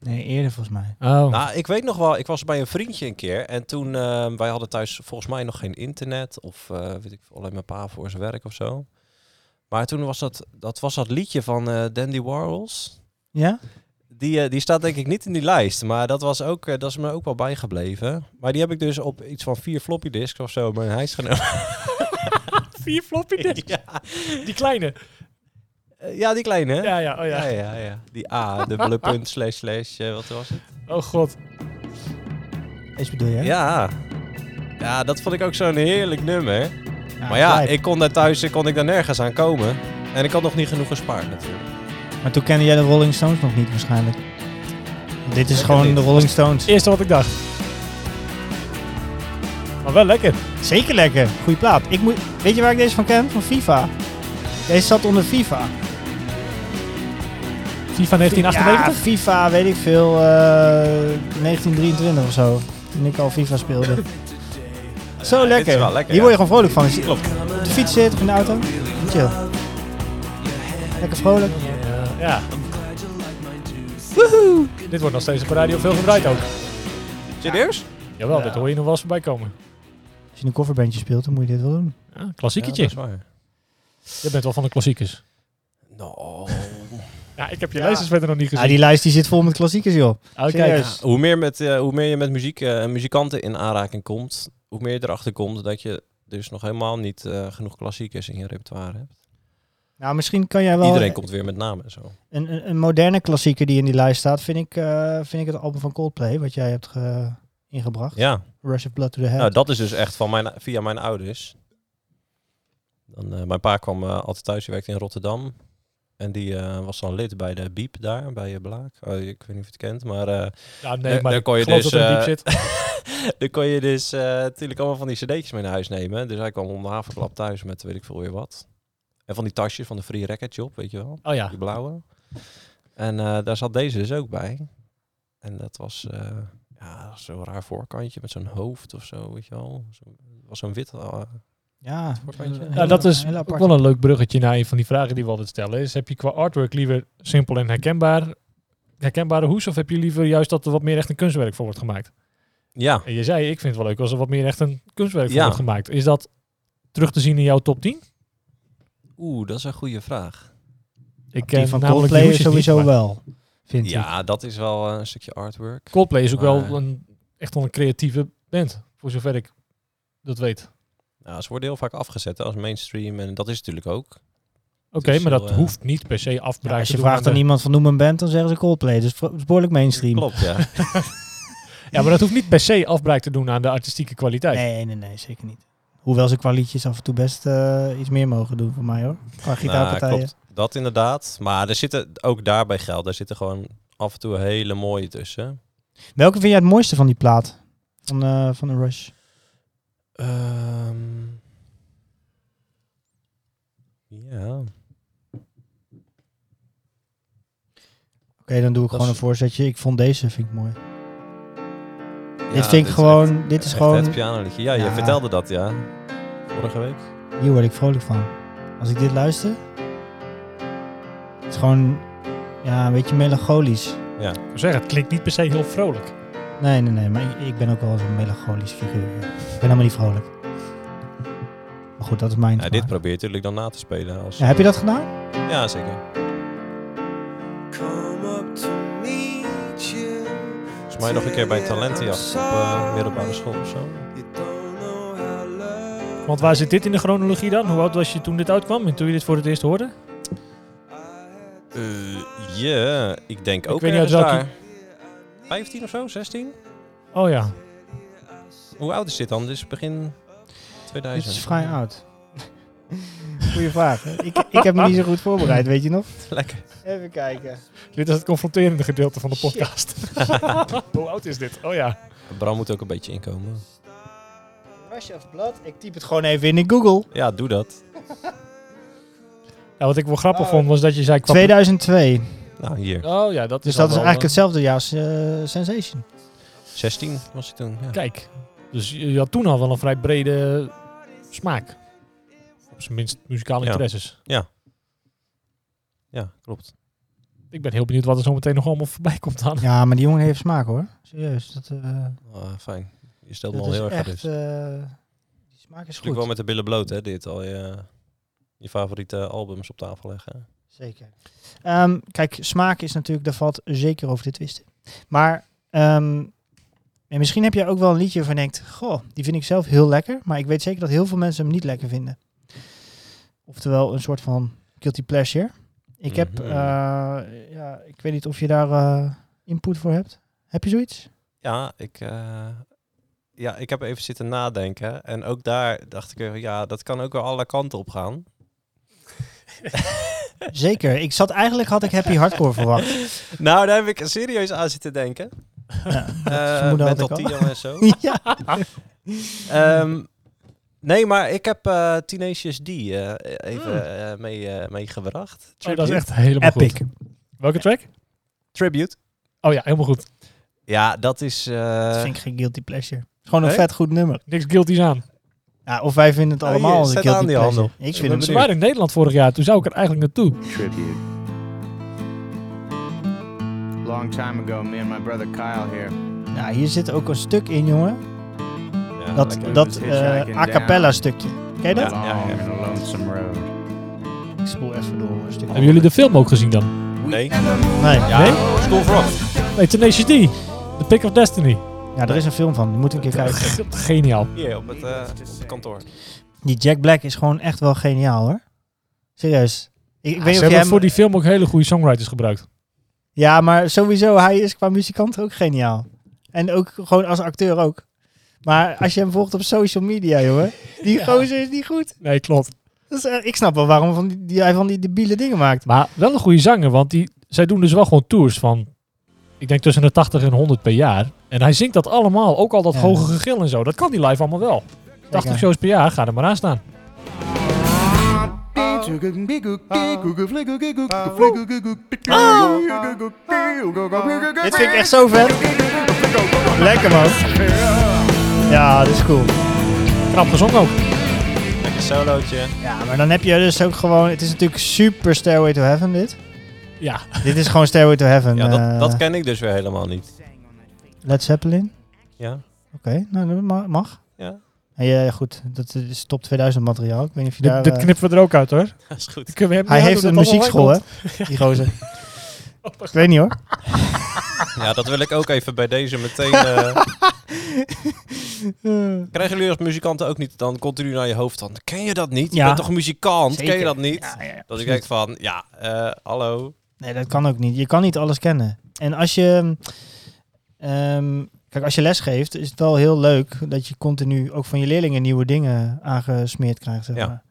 Nee, eerder volgens mij. Oh. Nou, ik weet nog wel, ik was bij een vriendje een keer en toen, eh, wij hadden thuis volgens mij nog geen internet of eh, weet ik veel, alleen mijn pa voor zijn werk of zo. Maar toen was dat, dat was dat liedje van eh, Dandy Warhols. Ja? Die, eh, die staat denk ik niet in die lijst, maar dat, was ook, eh, dat is me ook wel bijgebleven. Maar die heb ik dus op iets van vier floppy disks of zo in mijn huis genomen. Vier floppy disks. ja. Die kleine. Eh, ja, die kleine hè? Ja, ja, oh ja, ja. ja, ja. Die A, dubbele punt, slash, slash, eh, wat was het? Oh god. Deze bedoel je? Ja. Ja, dat vond ik ook zo'n heerlijk nummer. Ah, Maar ja, lijp. ik kon daar thuis ik kon ik daar nergens aan komen. En ik had nog niet genoeg gespaard natuurlijk. Maar toen kende jij de Rolling Stones nog niet waarschijnlijk. Dit is Zeker gewoon niet. de Rolling Stones. Eerste wat ik dacht. Maar wel lekker. Zeker lekker. Goeie plaat. Ik moet... Weet je waar ik deze van ken? Van FIFA. Deze zat onder FIFA. FIFA 1998. Ja, FIFA, weet ik veel, eh, 1923 of zo. Toen ik al FIFA speelde. Zo dit is lekker. wel lekker, Hier word ja. je gewoon vrolijk van. Als je Op de fiets zit of in de auto. Chill. Lekker vrolijk. Eh, Ja. Dit wordt nog steeds op de radio veel gedraaid ook. Serieus? Jawel, dit hoor je nog wel eens voorbij komen. Als je een kofferbandje speelt, dan moet je dit wel doen. Ja, Zieketje. klassieketje. Je bent wel van de klassiekers. Nou. Ja, ik heb je Ja. lijstjes verder nog niet Ja, gezien. die lijst die zit vol met klassiekers, joh. Ah, Oh, kijk. serieus. Hoe meer, met, eh, hoe meer je met muziek eh, en muzikanten in aanraking komt, hoe meer je erachter komt dat je dus nog helemaal niet eh, genoeg klassiekers in je repertoire hebt. Nou, misschien kan jij wel... Iedereen komt weer met namen en zo. Een, een, een moderne klassieker die in die lijst staat, vind ik, eh, vind ik het album van Coldplay, wat jij hebt ge- ingebracht. Ja, Rush of Blood to the Head. nou, dat is dus echt van mijn, via mijn ouders. Dan, eh, mijn pa kwam eh, altijd thuis, die werkte in Rotterdam. En die eh, was dan lid bij de Biep daar, bij eh, Blaak. Oh, ik weet niet of je het kent, maar eh, Ja, nee, daar- maar daar ik kon je geloof dus, dat er een diep eh, zit. Dan kon je dus eh, natuurlijk allemaal van die cd'tjes mee naar huis nemen. Dus hij kwam om de havenklap thuis met weet ik veel weer wat. En van die tasjes van de Free Record Shop, weet je wel. Oh ja. Die blauwe. En eh, daar zat deze dus ook bij. En dat was eh, ja, zo'n raar voorkantje met zo'n hoofd of zo, weet je wel. Zo, was zo'n wit... eh, ja, Voorkantje. een Ja, heel- Nou, dat is een heel ook apart. wel een leuk bruggetje naar een van die vragen die we altijd stellen. Is, heb je qua artwork liever simpel en herkenbaar, herkenbare hoes? Of heb je liever juist dat er wat meer echt een kunstwerk voor wordt gemaakt? ja, En je zei, ik vind het wel leuk als er wat meer echt een kunstwerk voor Ja. wordt gemaakt. Is dat terug te zien in jouw top 10? oeh, dat is een goede vraag. Ik Die ken van namelijk die Coldplay hoesjes sowieso niet, maar wel, vind ik. Ja, dat is wel eh, een stukje artwork. Coldplay is ook Maar- wel een, echt wel een creatieve band, voor zover ik dat weet. Nou, ze worden heel vaak afgezet hè, als mainstream. En dat is natuurlijk ook. Oké, Dus maar heel, dat eh, hoeft niet per se afbraak Ja, als te je doen vraagt aan de- iemand van noem een band, dan zeggen ze Coldplay. Dus het is behoorlijk mainstream. Klopt, ja. Ja, maar dat hoeft niet per se afbraak te doen aan de artistieke kwaliteit. Nee, nee, nee, zeker niet. Hoewel ze qua liedjes af en toe best eh, iets meer mogen doen voor mij hoor. Qua gitaarpartijen. klopt. Dat inderdaad. Maar er zitten ook daarbij geld. Daar zitten gewoon af en toe hele mooie tussen. Welke vind jij het mooiste van die plaat? Van, eh, van de Rush? Ehm, ja. Oké, dan doe ik Dat gewoon is- een voorzetje. Ik vond deze vind ik mooi. Ja, dit vind ik gewoon, dit is echt gewoon, Het pianoliedje. Ja, je Ja. vertelde dat, ja. Vorige week. hier word ik vrolijk van. Als ik dit luister, het is gewoon, ja, een beetje melancholisch. Ik wil zeggen, het klinkt niet per se heel vrolijk. Nee, nee, nee, maar ik, ik ben ook wel zo'n melancholisch figuur. ja. Ik ben helemaal niet vrolijk. Maar goed, dat is mijn Ja, smaak. dit probeer je natuurlijk dan na te spelen. Als, Ja, heb je dat gedaan? Ja, zeker. Come up to meet you. It's Volgens mij nog een keer bij talentenjacht op eh, middelbare school of zo. Want waar zit dit in de chronologie dan? Hoe oud was je toen dit uitkwam en toen je dit voor het eerst hoorde? Ja, ik denk ook weet niet uit ergens welke- daar. 15 of zo, 16? Oh ja. Hoe oud is dit dan? Dit is begin 2000. Dit is vrij oud. Goeie vraag. hè? Ik, ik heb me niet zo goed voorbereid, weet je nog? Lekker. Even kijken. Dit is het confronterende gedeelte van de Shit. podcast. Hoe oud is dit? Oh ja. Bram moet ook een beetje inkomen. Rush of Blood. Ik typ het gewoon even in in Google. Ja, doe dat. ja. Wat ik wel grappig Oh. vond was dat je zei... kwam- 2002. Nou, hier. Oh ja, dat is Dus dat al is wel, eigenlijk hetzelfde jaar als eh, Sensation. 16 was hij toen. Ja. eh, Kijk, dus je je had toen al wel een vrij brede smaak. Op zijn minst muzikale Ja. interesses. ja, klopt. Ik ben heel benieuwd wat er zo meteen nog allemaal voorbij komt aan. Ja, maar die jongen heeft smaak hoor. Serieus. Dat, eh Ah, fijn. Je stelt me dat al is heel erg uit. echt... Dus. eh, die smaak is Natuurlijk wel goed. met de billen bloot, hè, dit. Al je, je favoriete albums op tafel leggen. hè. Zeker. Ehm, kijk, smaak is natuurlijk... Daar valt zeker over te twisten. Maar... ehm, en misschien heb jij ook wel een liedje waarvan je denkt... Goh, die vind ik zelf heel lekker. Maar ik weet zeker dat heel veel mensen hem niet lekker vinden. Oftewel een soort van guilty pleasure. Ik heb... Mhm. eh, ja, ik weet niet of je daar eh, input voor hebt. Heb je zoiets? Ja, ik, eh, ja, ik heb even zitten nadenken. En ook daar dacht ik, even, ja, dat kan ook wel alle kanten op gaan. Zeker. Ik zat eigenlijk had ik happy hardcore verwacht. Nou, daar heb ik serieus aan zitten denken. Ja, Eh vermoeden had Mental ik al. Tio en zo. ja. Ehm, nee, maar ik heb eh Tenacious D eh, even Hmm. eh, mee, eh, meegebracht. Oh, dat is echt helemaal Epic. goed. Welke track? Tribute. Oh ja, helemaal goed. Ja, dat is... eh, Dat vind ik geen guilty pleasure. Het is Gewoon een Nee? vet goed nummer. Niks guilty's aan. Ja, of wij vinden het Oh, allemaal hier, als een zet guilty aan die pleasure. handel. Ik Ik vind ben hem Ze Precies. waren in Nederland vorig jaar, toen zou ik er eigenlijk naartoe. tribute. Long time ago, me and my brother Kyle here. Ja, Nou, hier zit ook een stuk in, jongen. ja, Dat, lekker. dat Dus eh, hitchhiking a cappella stukje. Ken je dat? Ja, ja, ja. Long and a lonesome road. Ik spoel even door een stukje. Hebben jullie de film ook gezien dan? Nee. Nee. Ja, Nee? School for Rock. Nee, Tenacious D. The Pick of Destiny. Ja, er is een film van. Die moet ik een keer kijken. G- Geniaal. Hier, op het, eh, op het kantoor. Die Jack Black is gewoon echt wel geniaal, hoor. Serieus. Ik, ik weet niet Ze hebben of jij hem... voor die film ook hele goede songwriters gebruikt. Ja, maar sowieso, hij is qua muzikant ook geniaal. En ook gewoon als acteur ook. Maar als je hem volgt op social media, jongen. Die Ja. gozer is niet goed. Nee, klopt. Dat is, eh, ik snap wel waarom van die, die- hij van die debiele dingen maakt. Maar wel een goede zanger, want die, zij doen dus wel gewoon tours van, ik denk tussen de 80 en 100 per jaar. En hij zingt dat allemaal, ook al dat Ja. hoge gegil en zo. Dat kan die live allemaal wel. 80 Zeker. shows per jaar, ga er maar aan staan. Dit vind ik echt zo vet. Lekker man. Ja, dat is cool. Knap gezongen ook. Lekker solootje. Ja, maar dan heb je dus ook gewoon... Het is natuurlijk super Stairway to Heaven dit. Ja, dit is gewoon Stairway to Heaven. Ja, eh, dat, dat ken ik dus weer helemaal niet. Led Zeppelin. Ja, Oké, nou dat ma- mag. ja. Ja, ja, goed. Dat is top 2000 materiaal. Ik weet niet of je dit, daar... dit eh, knippen we er ook uit hoor. dat is goed. Kunnen we hem Hij niet heeft een uitdoen dat het allemaal muziekschool, hè? wegkomt? Die gozer. Ik weet niet hoor. Ja, dat wil ik ook even bij deze meteen... eh, Krijgen jullie als muzikanten ook niet dan continu naar je hoofd van... Ken je dat niet? Je Ja. bent toch muzikant? Ken Zeker. je dat niet? Ja, ja, Dat ik absoluut. denk van, ja, eh, hallo. Nee, dat kan ook niet. Je kan niet alles kennen. En als je... ehm, kijk, als je les geeft, is het wel heel leuk dat je continu ook van je leerlingen nieuwe dingen aangesmeerd krijgt. Zeg Ja. maar.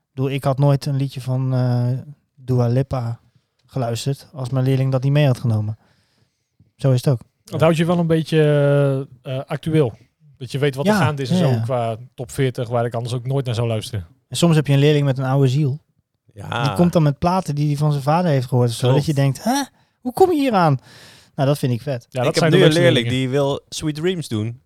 Ik bedoel, ik had nooit een liedje van eh Dua Lipa geluisterd als mijn leerling dat niet mee had genomen. Zo is het ook. Dat houdt je wel een beetje eh, eh, actueel. Dat je weet wat Ja, er gaande is en ja, zo ja. qua top 40, waar ik anders ook nooit naar zou luisteren. En soms heb je een leerling met een oude ziel. Ja, Die komt dan met platen die hij van zijn vader heeft gehoord. of zo, Klopt. dat je denkt, hè? Hoe kom je hier aan? Nou, dat vind ik vet. Ja, dat ik zijn heb de nu een leukste leerling dingen. die wil Sweet Dreams doen.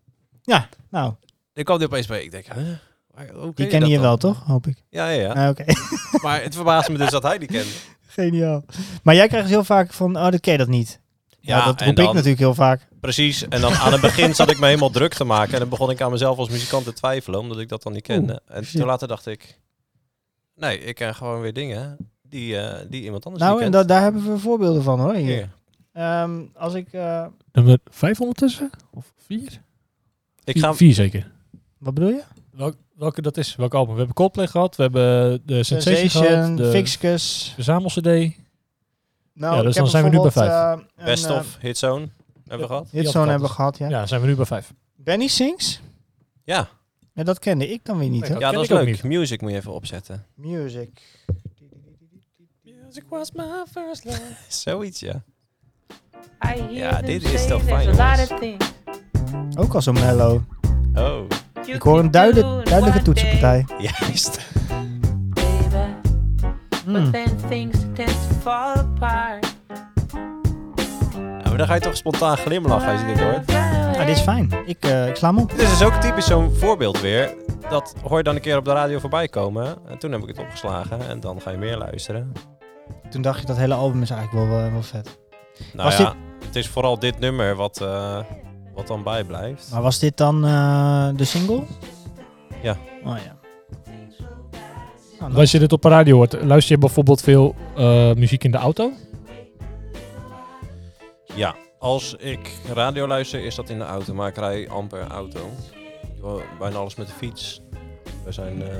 Nou, Ik kwam die opeens bij. Ik denk, hè? Waar- hoe ken die kennen dat je wel, dan? toch? Hoop ik. Ja, ja, ja. Ah, Oké, Maar het verbaast me dus dat hij die kent. geniaal. Maar jij krijgt dus heel vaak van, oh, dat ken je dat niet. Ja, dat en roep dan- ik natuurlijk heel vaak. Precies. En dan aan het begin zat ik me helemaal druk te maken. En dan begon ik aan mezelf als muzikant te twijfelen, omdat ik dat dan niet kende. en shit. toen later dacht ik, nee, ik ken gewoon weer dingen die, eh, die iemand anders Nou, niet en kent. da- daar hebben we voorbeelden van, hoor. Hier. Hier. Ehm, als ik... eh, Nummer 5 ondertussen? Of 4? Ik ga, 4 zeker. wat bedoel je? Welk, welke dat is? Welk album? We hebben Coldplay gehad. We hebben de Sensation, gehad. De Fixcus. verzamel CD. Nou, Ja, ik dus heb dan zijn we nu bij bijvoorbeeld, eh, een, best eh, of, Hitzone, hebben we gehad. Dit had zo'n ik hebben al. we gehad, ja. Ja, zijn we nu bij 5. Benny Sings? Ja, Ja, dat kende ik dan weer niet, Nee, hè? dat ja ken dat is ik ook leuk. niet. Music moet je even opzetten. Music. Music was my first love. Zoiets, ja. I hear Ja, them dit is say toch there's fijn, a lot jongens. of things Ook al zo'n mellow. Oh, you Ik hoor een can duide- do in duidelijke one day, toetsenpartij. juist. baby. Mm. But Hmm. then things tend to fall apart. Ja, Nou, maar dan ga je toch spontaan glimlachen als je dit hoort. Ah, dit is fijn. Ik, eh, ik sla hem op. Dit is dus ook typisch zo'n voorbeeld weer. Dat hoor je dan een keer op de radio voorbij komen. En toen heb ik het opgeslagen. En dan ga je meer luisteren. Toen dacht je dat hele album is eigenlijk wel, eh, wel vet. Nou Was ja, het is vooral dit nummer wat, eh, wat dan bijblijft. Maar was dit dan eh, de single? Ja. Oh ja. Nou, dan- Als je dit op de radio hoort, luister je bijvoorbeeld veel eh, muziek in de auto? Ja, als ik radio luister is dat in de auto. Maar ik rij amper auto. Ik doe Bijna alles met de fiets. We zijn... eh,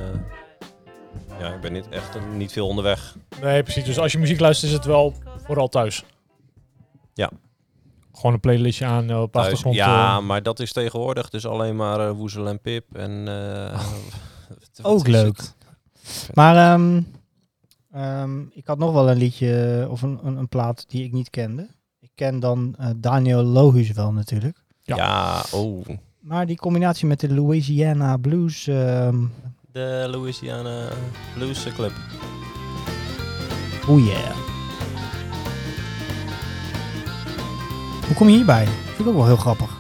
ja, ik ben niet echt niet veel onderweg. Nee, precies. Dus als je muziek luistert, is het wel vooral thuis. Ja. Gewoon een playlistje aan eh, op de Thuis. achtergrond. ja, eh. maar dat is tegenwoordig dus alleen maar eh, woezel en pip. En, eh, wat Oh. Ook is leuk. het? Maar ehm, ehm, ik had nog wel een liedje eh, of een, een, een plaat die ik niet kende. Ik ken dan eh, Daniel Lohus wel natuurlijk. Ja. Ja, oh. Maar die combinatie met de Louisiana Blues. ehm De Louisiana Blues Club. oh yeah. Hoe kom je hierbij? Vind ik ook wel heel grappig.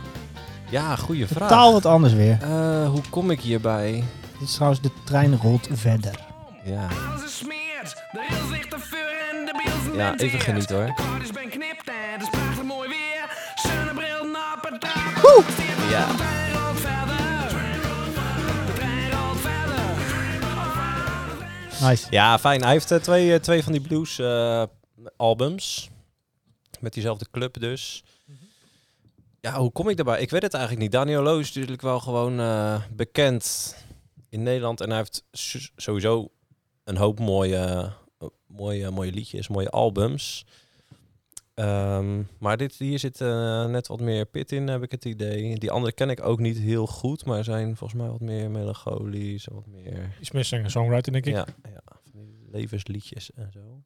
Ja, goede vraag. Totaal wat anders weer. Eh, hoe kom ik hierbij? Dit is trouwens De Trein Rolt Verder. Ja, De rails ligt te vuur en de biels ja even genieten hoor. Dus ben knipt en het is prachtig mooi weer. Zonnebril nap het trap. Ja. Nice. Ja, fijn. Hij heeft eh, twee, eh, twee van die blues eh, albums. Met diezelfde club dus. Ja, hoe kom ik daarbij? Ik weet het eigenlijk niet. Daniel Loos is natuurlijk wel gewoon eh, bekend in Nederland. En hij heeft s- sowieso een hoop mooie, eh, mooie, mooie liedjes, mooie albums. Ehm, maar dit, hier zit eh, net wat meer pit in, heb ik het idee. Die andere ken ik ook niet heel goed, maar zijn volgens mij wat meer melancholisch en wat meer Iets meer singer-songwriter, denk ik. ja, ja, van die levensliedjes en zo.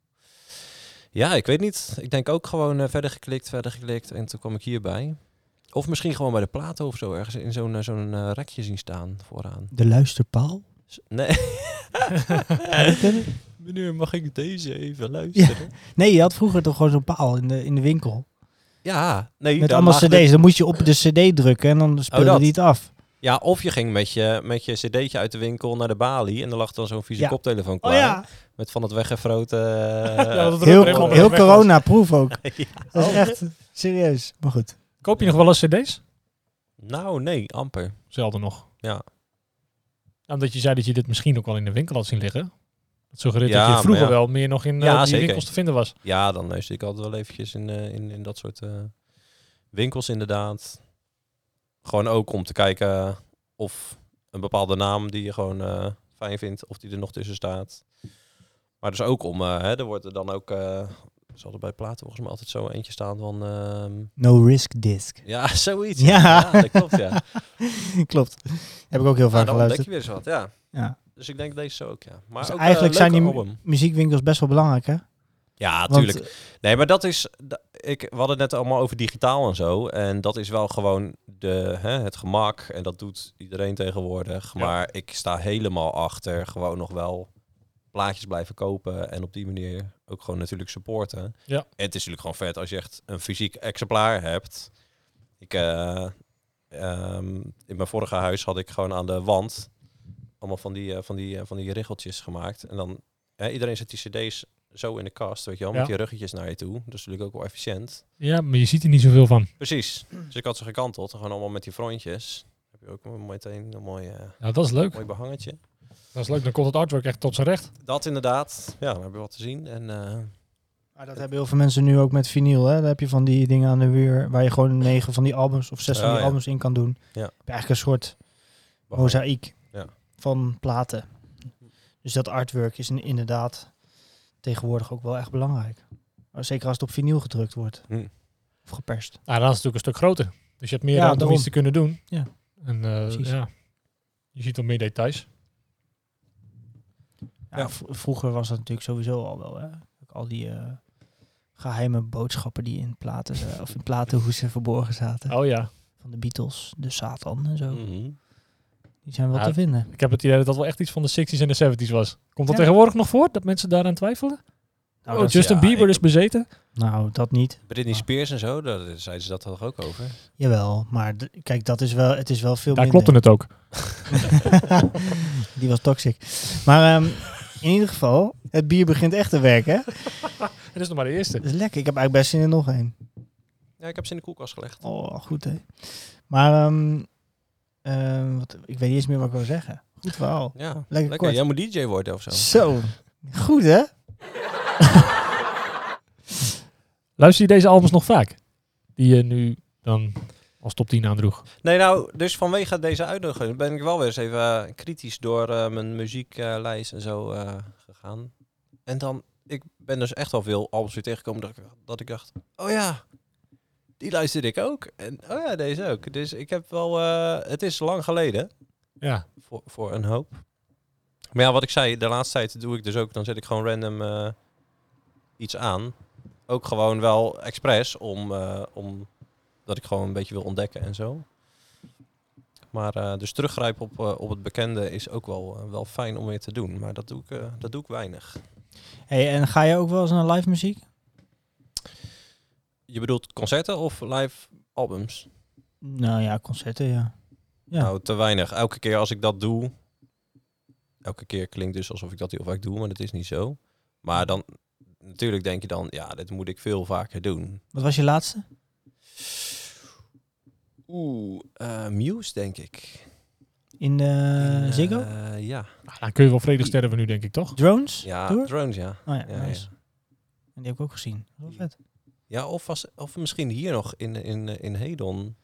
Ja, ik weet niet. Ik denk ook gewoon eh, verder geklikt, verder geklikt. En toen kwam ik hierbij. Of misschien gewoon bij de platen of zo. Ergens in zo'n eh, zo'n eh, rekje zien staan vooraan. De Luisterpaal. S- Nee. Meneer, mag ik deze even luisteren? Ja, Nee, je had vroeger toch gewoon zo'n paal in de, in de winkel. nee. Met daar allemaal lagen de- cd's. Dan moest je op de cd drukken en dan speelde dat. Oh, die het af. Ja, of je ging met je, met je cd'tje uit de winkel naar de balie. En er lag dan zo'n vieze Ja. koptelefoon Oh klaar. ja, Met van het weggefroten... Ja, dat eh, er ook heel, helemaal heel weg was. Oh. corona-proof ook. Ja. Dat is echt serieus. Maar goed. Koop je nog wel eens cd's? nou, nee, amper. Zelden nog. Nou, Ja. Omdat je zei dat je dit misschien ook wel in de winkel had zien liggen. Dat suggereert Ja, dat je maar vroeger ja. wel meer nog in eh, Ja, die zeker. winkels te vinden was. Ja, dan luister ik altijd wel eventjes in, eh, in, in dat soort eh, winkels inderdaad. Gewoon ook om te kijken of een bepaalde naam die je gewoon eh, fijn vindt, of die er nog tussen staat. Maar dus ook om, eh, hè, er wordt er dan ook, eh zal er bij platen volgens mij altijd zo eentje staan van, ehm, No risk disc. ja, zoiets. Ja. dat klopt, ja. Nou, Klopt. Heb ik ook heel vaak dan ontdek geluisterd. je weer eens wat, ja. Ja. Dus ik denk deze zo ook, ja. Maar Dus ook, eigenlijk eh, zijn die leuke mu- album. muziekwinkels best wel belangrijk, hè? Ja, Want, tuurlijk. Nee, maar dat is. da- Ik, we hadden het net allemaal over digitaal en zo. En dat is wel gewoon de, hè, het gemak. En dat doet iedereen tegenwoordig. Ja. Maar ik sta helemaal achter. Gewoon nog wel plaatjes blijven kopen. En op die manier ook gewoon natuurlijk supporten. Ja. En het is natuurlijk gewoon vet als je echt een fysiek exemplaar hebt. Ik, eh, ehm, in mijn vorige huis had ik gewoon aan de wand allemaal van die, eh, van die, eh, van die riggeltjes gemaakt. En dan, hè, iedereen zet die cd's zo in de kast, weet je wel, Ja. met die ruggetjes naar je toe. Dat is natuurlijk ook wel efficiënt. Ja, maar je ziet er niet zoveel van. Precies. Dus ik had ze gekanteld, gewoon allemaal met die frontjes. Heb je ook meteen een mooi, eh, Nou, dat is leuk. mooi behangetje. Dat is leuk. Dan komt het artwork echt tot zijn recht. Dat inderdaad. Ja, dan heb je wat te zien. En eh, Maar dat hebben heel veel mensen nu ook met vinyl. Hè? Dan heb je van die dingen aan de muur waar je gewoon negen van die albums of zes van Ja, die ja. albums in kan doen. Ja. Heb je eigenlijk een soort mozaïek Ja. van platen. Dus dat artwork is in- inderdaad tegenwoordig ook wel echt belangrijk. Maar Zeker als het op vinyl gedrukt wordt. Hm. Of geperst. Ah, dan is het natuurlijk een stuk groter. Dus je hebt meer Ja, ruimte om daarom. iets te kunnen doen. Ja. En eh, Precies. ja, je ziet wat meer details. Ja, Ja. v- Vroeger was dat natuurlijk sowieso al wel. Hè? Ook Al die eh, geheime boodschappen die in platen eh, of in platenhoesen verborgen zaten. Oh ja, Van de Beatles, de Satan en zo. Mhm. Die zijn wel Ja, te vinden. ik heb het idee dat dat wel echt iets van de 60s en de 70s was. Komt dat Ja. tegenwoordig nog voor, dat mensen daaraan twijfelen? Nou, oh, dat- Justin ja, Bieber ik- is bezeten? nou, dat niet. Britney Ah. Spears en zo, daar zeiden ze dat toch ook over? Jawel, maar d- kijk, dat is wel, het is wel veel Daar klopte minder. het ook. Die was toxic. Maar ehm, in ieder geval, het bier begint echt te werken. hè? Dat is nog maar de eerste. Dat is lekker. Ik heb eigenlijk best zin in nog één. Ja, ik heb ze in de koelkast gelegd. Oh, goed hè. Maar ehm, ehm, wat, ik weet niet eens meer wat ik wil zeggen. Goed verhaal. Ja, lekker. Lekker, kort. Jij moet DJ worden of zo. Zo. Goed hè? Luister je deze albums nog vaak? Die je nu dan als top 10 aandroeg. Nee, nou, dus vanwege deze uitnodiging ben ik wel weer eens even eh, kritisch door eh, mijn muzieklijst en zo eh, gegaan. En dan, ik ben dus echt al veel albums weer tegengekomen dat ik, dat ik dacht, oh ja, die luisterde ik ook. En oh ja, deze ook. Dus ik heb wel, eh, het is lang geleden Ja. voor, voor een hoop. Maar ja, wat ik zei, de laatste tijd doe ik dus ook, dan zet ik gewoon random eh, iets aan. Ook gewoon wel expres, om, eh, om, dat ik gewoon een beetje wil ontdekken en zo. Maar eh, dus teruggrijpen op, eh, op het bekende is ook wel, eh, wel fijn om weer te doen. Maar dat doe ik, eh, dat doe ik weinig. Hey, en ga je ook wel eens naar live muziek? Je bedoelt concerten of live albums? Nou ja, concerten ja. Ja. Nou, te weinig. Elke keer als ik dat doe... Elke keer klinkt dus alsof ik dat heel vaak doe, maar dat is niet zo. Maar dan... Natuurlijk denk je dan, ja, dit moet ik veel vaker doen. Wat was je laatste? Oeh, eh, Muse denk ik. In de In, Ziggo? eh, ja. Nou, dan kun je wel vredig sterven nu, denk ik, toch? Drones? Ja, Tour? Drones, ja. Oh ja, Ja, nice. ja. En die heb ik ook gezien. Wel vet. Ja, of, was, of misschien hier nog in, in, eh, in Hedon.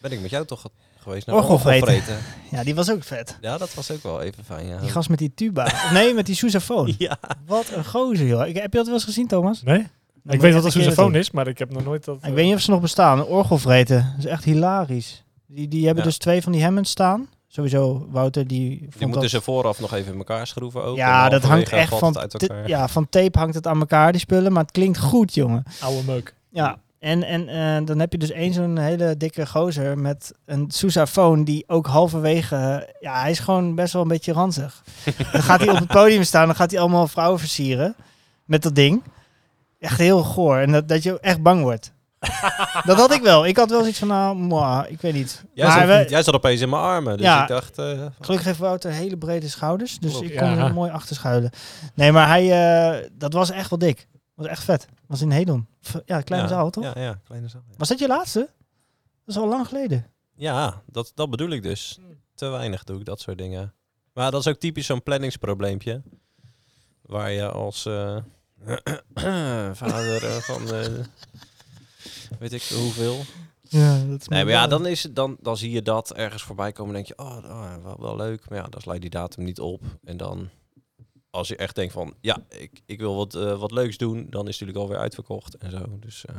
Ben ik met jou toch ge- geweest Orgelvreten. orgelvreten. Ja, die was ook vet. Ja, dat was ook wel even fijn, ja. Die gast met die tuba. Of nee, met die sousaphone. Ja. Wat een gozer, joh. Ik, heb je dat wel eens gezien, Thomas? Nee? Dan ik moet je weet dat echt het een keer sousaphone naartoe. is, maar ik heb nog nooit dat... eh, Ik weet niet of ze nog bestaan. Een orgelvreten. Dat is echt hilarisch. Die, die hebben Ja. dus twee van die Hammonds staan. Sowieso, Wouter, die vond Die moeten dat... ze vooraf nog even in elkaar schroeven ook. En ja, dan dat hangt halverwege echt valt van, het uit ta- elkaar. ja, van tape hangt het aan elkaar, die spullen. Maar het klinkt goed, jongen. Oude meuk. Ja, en, en eh, dan heb je dus één zo'n hele dikke gozer met een sousaphone die ook halverwege... eh, ja, hij is gewoon best wel een beetje ranzig. dan gaat hij op het podium staan, dan gaat hij allemaal vrouwen versieren met dat ding. Echt heel goor en dat, dat je echt bang wordt. dat had ik wel. Ik had wel zoiets van, nou, mwah, ik weet niet. Jij, maar zat, we- jij zat opeens in mijn armen, dus Ja. ik dacht... eh, Gelukkig heeft Wouter hele brede schouders, dus Klopt. ik kon Ja. er mooi achter schuilen. Nee, maar hij, eh, dat was echt wel dik. Was echt vet. Was in Hedon. V- Ja, kleine ja, zaal, toch? Ja, ja, kleine zaal. Ja, Was dat je laatste? Dat is al lang geleden. Ja, dat, dat bedoel ik dus. Te weinig doe ik dat soort dingen. Maar dat is ook typisch zo'n planningsprobleempje. Waar je als eh, vader eh, van... eh, weet ik hoeveel... Ja, dat is Nee, maar ja, dan, is, het- dan, dan zie je dat ergens voorbij komen. en denk je, oh, oh, wel, wel leuk. Maar ja, dan sla je die datum niet op. En dan, als je echt denkt van, ja, ik, ik wil wat, eh, wat leuks doen, dan is het natuurlijk alweer uitverkocht en zo. Dus eh,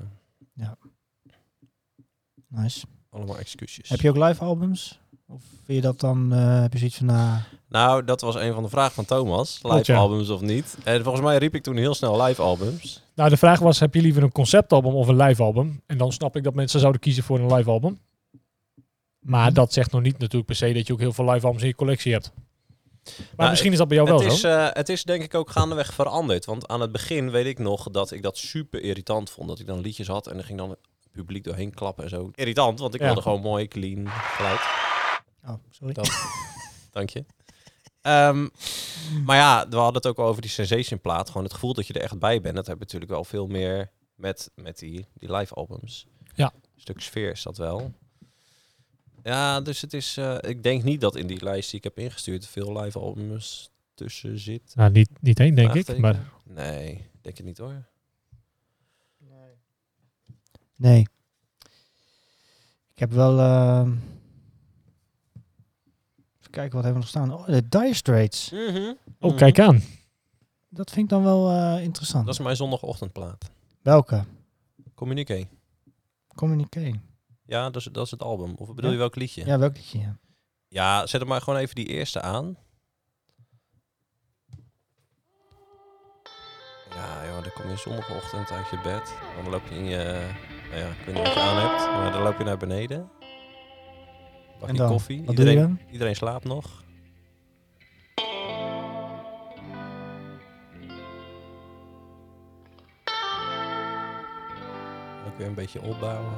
Nice. allemaal excuses. Heb je ook live albums? Of vind je dat dan, eh, heb je zoiets van, nou, Nou, dat was een van de vragen van Thomas. Live Klopt, ja. albums of niet? En volgens mij riep ik toen heel snel live albums. Nou, de vraag was, heb je liever een conceptalbum of een live album? En dan snap ik dat mensen zouden kiezen voor een live album. Mhm. Maar dat zegt nog niet natuurlijk per se dat je ook heel veel live albums in je collectie hebt. Maar Nou, misschien is dat bij jou Oh, wel het, is, zo. eh, het is denk ik ook gaandeweg veranderd. Want aan het begin weet ik nog dat ik dat super irritant vond. Dat ik dan liedjes had en er ging dan het publiek doorheen klappen en zo. Irritant, want ik Ja. wilde gewoon mooi, clean geluid. Oh, sorry. Dat- Dank je. Ehm, maar ja, we hadden het ook al over die sensation plaat. Gewoon het gevoel dat je er echt bij bent. Dat heb je natuurlijk wel veel meer met, met die, die live albums. Ja. Een stuk sfeer is dat wel. Ja, dus het is. eh, ik denk niet dat in die lijst die ik heb ingestuurd veel live albums tussen zit. Nou, niet, niet één, denk ik. Vraagteken. Maar Nee, denk het niet hoor. Nee. Ik heb wel... ehm, even kijken, wat hebben we nog staan? Oh, de Dire Straits. Mhm. Oh, kijk aan. Dat vind ik dan wel eh, interessant. Dat is mijn zondagochtendplaat. Welke? Communique. Communique. Ja, dat is, dat is het album. Of bedoel Ja. je welk liedje? Ja, welk liedje? ja. Ja, zet er maar gewoon even die eerste aan. Ja, joh, dan kom je zondagochtend uit je bed. Dan loop je in je... Nou ja, ik weet niet wat je aan hebt, maar dan loop je naar beneden. En Bakje dan? koffie. Wat doe je iedereen, dan? iedereen slaapt nog. Ook weer een beetje opbouwen.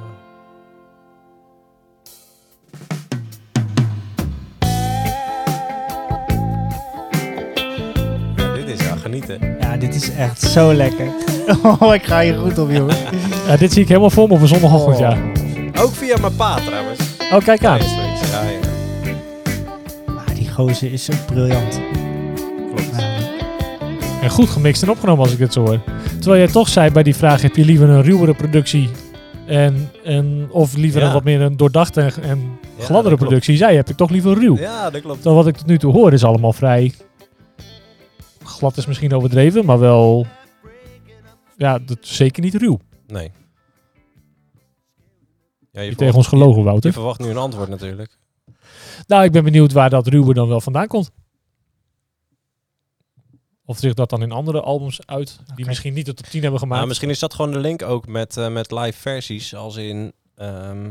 Ja, dit is ja genieten. Ja, dit is echt zo lekker. Oh, ik ga hier goed op, jongen. Ja, dit zie ik helemaal voor me op een Oh. zondagochtend, ja. Ook via mijn pa trouwens. Oh, kijk aan. Zoiets, Ja, ja. Maar Ah, die gozer is zo briljant. Ah, Klopt. Ja. En goed gemixt en opgenomen als ik het zo hoor. Terwijl jij toch zei bij die vraag, heb je liever een ruwere productie en, en, of liever Ja. een wat meer een doordachte en, en Ja, dat gladdere klopt. productie? Zij heb ik toch liever ruw. Ja, dat klopt. Terwijl wat ik tot nu toe hoor is allemaal vrij... Glad is misschien overdreven, maar wel... Ja, dat is zeker niet ruw. Nee. Ja, je, Je verwacht, tegen ons gelogen, je Wouter. verwacht nu een antwoord natuurlijk. Nou, ik ben benieuwd waar dat ruwe dan wel vandaan komt. Of zich dat dan in andere albums uit, die Oké. misschien niet de top 10 hebben Maar gemaakt. Nou, misschien is dat gewoon de link ook met, eh, met live versies. Als in... ehm,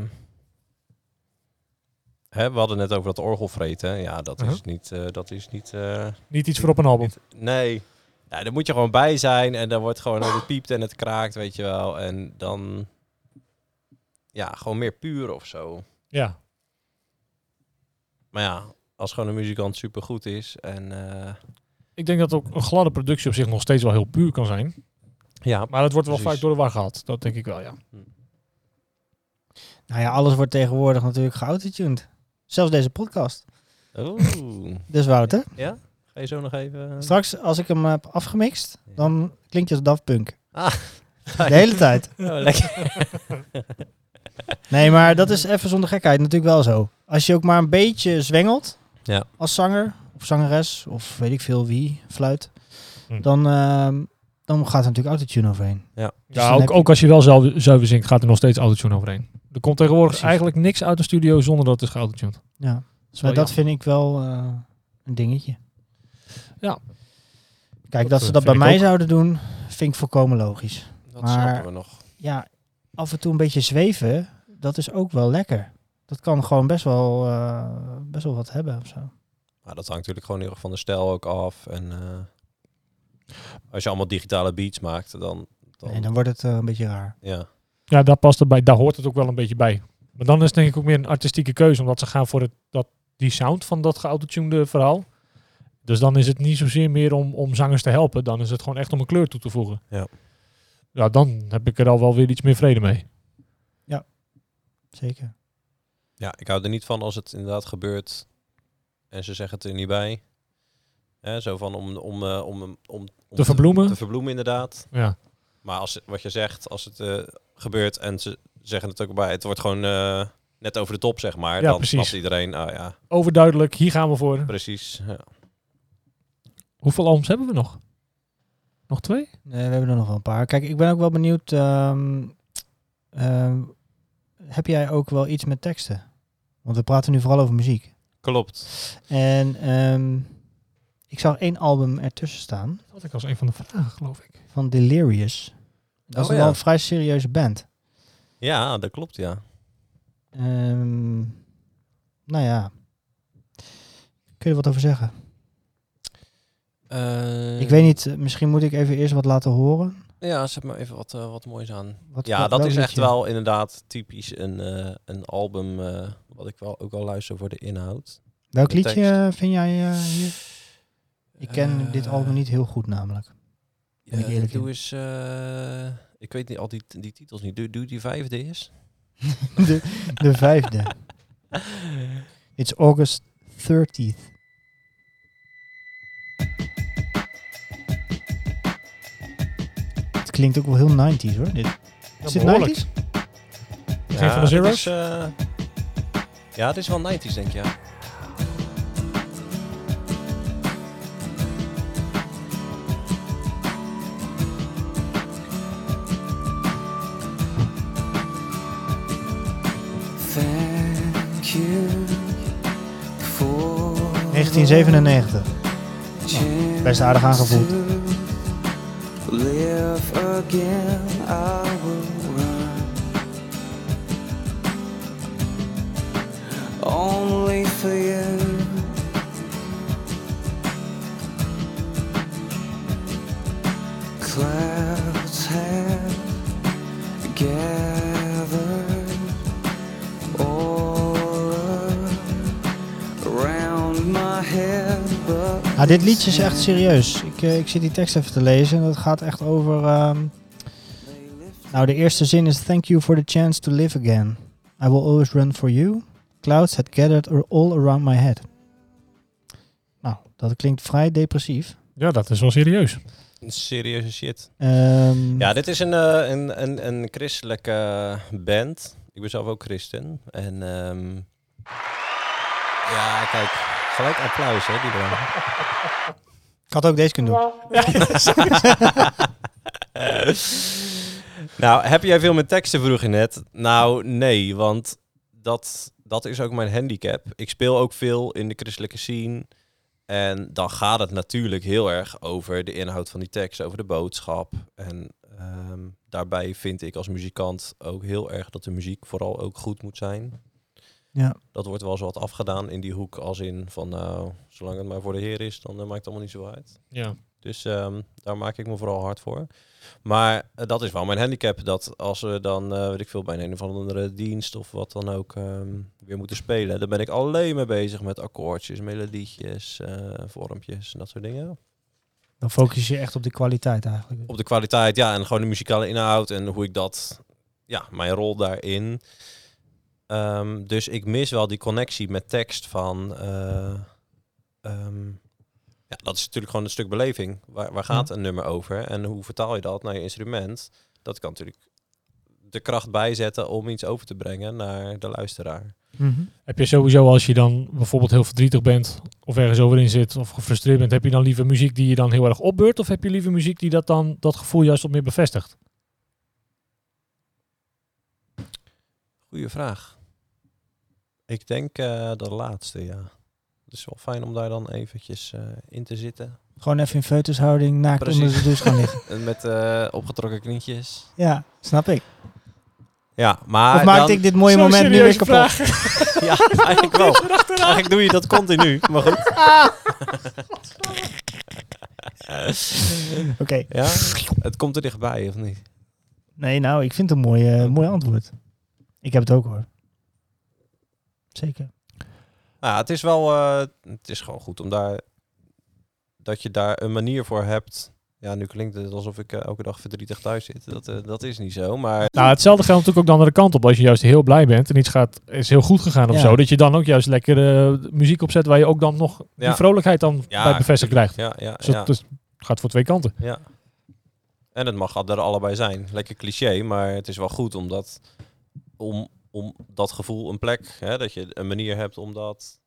hè, we hadden net over dat orgelvreten. Ja, dat Mhm. is Uh-huh. niet... eh, dat is niet, eh, niet iets voor op een album. niet- nee. Ja, daar moet je gewoon bij zijn. En dan wordt gewoon... Het piept en het kraakt, weet je wel. En dan... Ja, gewoon meer puur of zo. Ja, Maar ja, als gewoon een muzikant supergoed is en... eh, ik denk dat ook een gladde productie op zich nog steeds wel heel puur kan zijn. ja, Maar het wordt wel Precies. vaak door de war gehad. Dat denk ik wel, ja. Nou ja, alles wordt tegenwoordig natuurlijk geautotuned. Zelfs deze podcast. Oeh. Dus Wouter, ja? Ga je zo nog even... straks als ik hem heb afgemixt, dan klinkt je als Daft Punk. Ah. De hele tijd. Oh, lekker. Nee, maar dat is even zonder gekheid natuurlijk wel zo. Als je ook maar een beetje zwengelt Ja. als zanger of zangeres of weet ik veel wie, fluit, Hm. dan, ehm, dan gaat er natuurlijk autotune overheen. Dus ja dan ook, heb je- ook als je wel zuiver, zuiver zingt, gaat er nog steeds autotune overheen. Er komt tegenwoordig Precies. eigenlijk niks uit de studio zonder dat het is geautotuned. Ja. Dat is wel Maar dat jammer. vind ik wel eh, een dingetje. Ja. Kijk, dat, Dat, ze eh, dat vind bij ik mij ook. zouden doen, vind ik volkomen logisch. Dat Maar- snappen we nog. Ja, af en toe een beetje zweven, dat is ook wel lekker. Dat kan gewoon best wel, eh, best wel wat hebben of zo. Maar dat hangt natuurlijk gewoon heel erg van de stijl ook af. En eh, als je allemaal digitale beats maakt, dan... dan, Nee, dan wordt het eh, een beetje raar. Ja. Ja, daar past het bij. Daar hoort het ook wel een beetje bij. Maar dan is het denk ik ook meer een artistieke keuze, omdat ze gaan voor het, dat, die sound van dat geautotunede verhaal. Dus dan is het niet zozeer meer om, om zangers te helpen. Dan is het gewoon echt om een kleur toe te voegen. Ja. Ja, dan heb ik er al wel weer iets meer vrede mee. Zeker. ja, ik hou er niet van als het inderdaad gebeurt en ze zeggen het er niet bij. Hè, zo van om, om, eh, om, om, om verbloemen? Te verbloemen, inderdaad. Ja. Maar als, wat je zegt, als het eh, gebeurt en ze zeggen het ook bij, het wordt gewoon eh, net over de top, zeg maar. Ja, dan precies. snapt iedereen, ah ja, Overduidelijk, hier gaan we voor. precies. Ja. Hoeveel albums hebben we nog? Nog twee? Nee, we hebben er nog wel een paar. Kijk, ik ben ook wel benieuwd. ehm, ehm, heb jij ook wel iets met teksten? Want we praten nu vooral over muziek. Klopt. En ehm, ik zag één album ertussen staan Dat had ik als een van de vragen, geloof ik. van Delirious. Dat is Oh, wel ja. een vrij serieuze band. Ja, dat klopt, ja. Ehm, nou ja, kun je wat over zeggen? Ik weet niet, eh, misschien moet ik even eerst wat laten horen. Ja, zet maar even wat, eh, wat moois aan. Wat, Ja, wat- dat welk is echt liedje? wel inderdaad typisch een, eh, een album eh, wat ik wel ook wel luister voor de inhoud. Welk de liedje tekst. eh, vind jij eh, hier? Ik ken Eh, dit album niet heel goed namelijk. ben ik eh, eerlijk doe in. eens, eh, ik weet niet al die, die titels niet. Doe, doe die vijfde eens. De, de vijfde. It's August 30th. Het klinkt ook wel heel 90s hoor. Dit. Ja, Is dit behoorlijk. 90s? Geen van de dit zeros? is, eh, ja, dit is wel 90s, denk ik, ja. Thank you for 1997. Nou, best aardig aangevoeld. live again. I will run. Only for you. Clouds have gathered all around my head, but Nou, dit liedje is echt it's serieus. Ik, eh, ik zit die tekst even te lezen en dat gaat echt over... ehm, nou, de eerste zin is... Thank you for the chance to live again. I will always run for you. Clouds had gathered are all around my head. Nou, dat klinkt vrij depressief. Ja, dat is wel serieus. Serieuze shit. Ehm, Ja, dit is een, eh, een, een, een christelijke band. Ik ben zelf ook christen. En ehm, ja, kijk, gelijk applaus, hè, die dan. Ik had ook deze kunnen doen. nou, heb jij veel met teksten, vroeg je net. Nou, nee, want dat, dat is ook mijn handicap. Ik speel ook veel in de christelijke scene. En dan gaat het natuurlijk heel erg over de inhoud van die tekst, over de boodschap. En ehm, daarbij vind ik als muzikant ook heel erg dat de muziek vooral ook goed moet zijn. Ja. Dat wordt wel eens wat afgedaan in die hoek, als in van nou, zolang het maar voor de Heer is, dan eh, maakt het allemaal niet zo uit. Ja. Dus ehm, daar maak ik me vooral hard voor. Maar eh, dat is wel mijn handicap. Dat als we dan, eh, weet ik veel, bij een, een of andere dienst of wat dan ook ehm, weer moeten spelen. Dan ben ik alleen maar bezig met akkoordjes, melodietjes, eh, vormpjes en dat soort dingen. Dan focus je echt op de kwaliteit eigenlijk. Op de kwaliteit, ja. En gewoon de muzikale inhoud en hoe ik dat, ja, mijn rol daarin. Ehm, dus ik mis wel die connectie met tekst van... eh, ehm, ja, dat is natuurlijk gewoon een stuk beleving. Waar, waar gaat een nummer over? En hoe vertaal je dat naar je instrument? Dat kan natuurlijk de kracht bijzetten om iets over te brengen naar de luisteraar. Mhm. Heb je sowieso, als je dan bijvoorbeeld heel verdrietig bent, of ergens over in zit, of gefrustreerd bent, heb je dan liever muziek die je dan heel erg opbeurt? Of heb je liever muziek die dat dan dat gevoel juist wat meer bevestigt? Goeie vraag. Ik denk eh, de laatste, ja. Het is wel fijn om daar dan eventjes eh, in te zitten. Gewoon even in feutushouding naakt Precies. onder de douche gaan liggen. En Met eh, opgetrokken knietjes. Ja, snap ik. Ja, maar of maakte Ah, dan- ik dit mooie Zo'n moment nu weer serieuze kapot? vraag. Ja, eigenlijk wel. Eigenlijk doe je dat continu, maar goed. Oké. Ja, het komt er dichtbij, of niet? Nee, nou, ik vind het een mooi, eh, mooi antwoord. Ik heb het ook hoor. Zeker. Nou, ja, het is wel, eh, het is gewoon goed om daar, dat je daar een manier voor hebt. Ja, nu klinkt het alsof ik eh, elke dag verdrietig thuis zit. Dat, eh, dat is niet zo, maar Nou, hetzelfde geldt natuurlijk ook de andere kant op. Als je juist heel blij bent en iets gaat, is heel goed gegaan of Ja. zo, dat je dan ook juist lekker eh, muziek opzet waar je ook dan nog Ja. die vrolijkheid dan Ja, bij bevestigd krijgt. ja, ja, Dus ja, het is- gaat voor twee kanten. ja. En het mag er allebei zijn. Lekker cliché, maar het is wel goed om dat, om, om dat gevoel een plek, hè, dat je een manier hebt om dat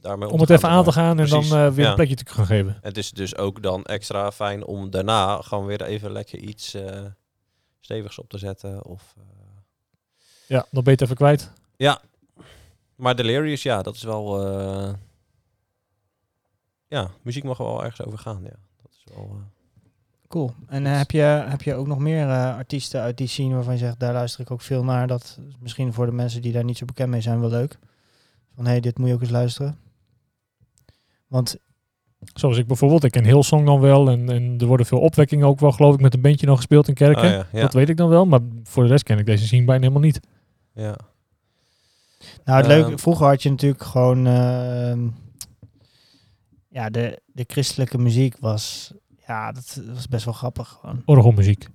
daarmee om Om te het gaan, even aan te zeg maar. gaan en dan Precies, eh, weer ja. een plekje te gaan geven. Het is dus ook dan extra fijn om daarna gewoon weer even lekker iets eh, stevigs op te zetten of... eh, Ja, dan ben je het even kwijt. Maar Delirious, ja, dat is wel. eh, Ja, muziek mag er wel ergens over gaan. Ja. Dat is wel, eh, Cool. En eh, heb, je, heb je ook nog meer eh, artiesten uit die scene waarvan je zegt, daar luister ik ook veel naar. Dat is misschien voor de mensen die daar niet zo bekend mee zijn wel leuk. Van hé, hey, dit moet je ook eens luisteren. Want Zoals ik bijvoorbeeld, ik ken Hillsong dan wel. En, en er worden veel opwekkingen ook wel, geloof ik, met een bandje nog gespeeld in kerken. ah, ja, ja, Dat weet ik dan wel, maar voor de rest ken ik deze scene bijna helemaal niet. ja. Nou, het Ehm. leuke, vroeger had je natuurlijk gewoon. ehm, ja, de, de christelijke muziek was. Ja, dat was best wel grappig gewoon. Orgelmuziek.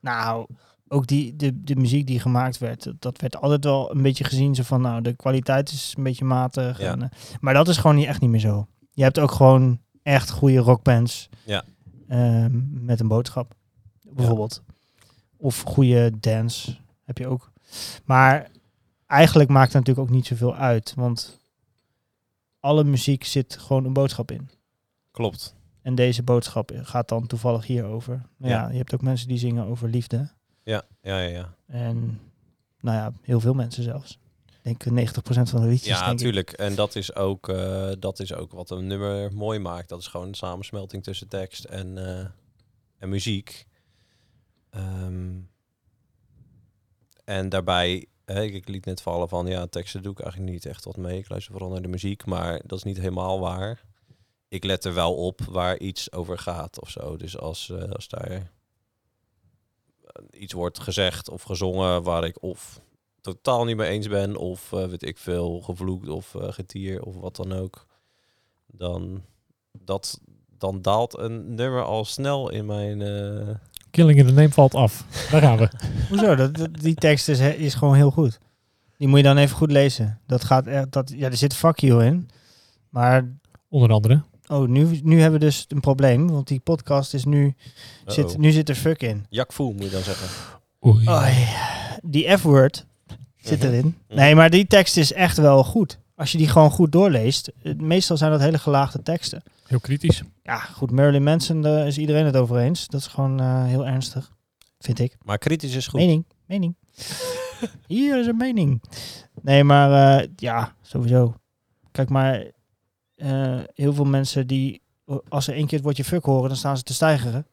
Nou, ook die, de, de muziek die gemaakt werd, dat- dat werd altijd wel een beetje gezien. Zo van, nou, de kwaliteit is een beetje matig. Ja. En, eh, maar dat is gewoon niet, echt niet meer zo. Je hebt ook gewoon echt goede rockbands. Ja. ehm, met een boodschap, bijvoorbeeld. Of goede dance heb je ook. Maar eigenlijk maakt het natuurlijk ook niet zoveel uit. Want alle muziek zit gewoon een boodschap in. Klopt. En deze boodschap gaat dan toevallig hierover. Maar ja, Ja. je hebt ook mensen die zingen over liefde. Ja, ja, ja. Ja, En nou ja, heel veel mensen zelfs. Ik denk 90% van de liedjes. denk ja ik. natuurlijk. En dat is, ook, eh, dat is ook wat een nummer mooi maakt. Dat is gewoon een samensmelting tussen tekst en, eh, en muziek. Ehm, en daarbij, hè, ik, ik liet net vallen van, ja, teksten doe ik eigenlijk niet echt wat mee. Ik luister vooral naar de muziek, maar dat is niet helemaal waar. Ik let er wel op waar iets over gaat of zo. Dus als, eh, als daar eh, iets wordt gezegd of gezongen waar ik of totaal niet mee eens ben, of eh, weet ik veel, gevloekt of eh, getier of wat dan ook, dan, dat, dan daalt een nummer al snel in mijn. eh, Killing in the Name valt af. Daar gaan we. Hoezo? Dat, dat- die tekst is, is gewoon heel goed. Die moet je dan even goed lezen. Dat gaat echt, dat, ja, er zit fuck you in. Maar Onder andere. oh, nu, nu hebben we dus een probleem. Want die podcast is nu, zit, uh-oh. nu zit er fuck in. Jakvoel moet je dan zeggen. Oei. Oei, die F-word zit Mhm. erin. Nee, maar die tekst is echt wel goed. Als je die gewoon goed doorleest. eh, Meestal zijn dat hele gelaagde teksten. Heel kritisch. Ja, goed. Marilyn Manson, daar is iedereen het over eens. Dat is gewoon eh, heel ernstig. Vind ik. Maar kritisch is goed. Mening, mening. Hier is een mening. Nee, maar eh, ja, sowieso. Kijk maar, eh, heel veel mensen die, als ze één keer het woordje fuck horen, dan staan ze te stijgeren.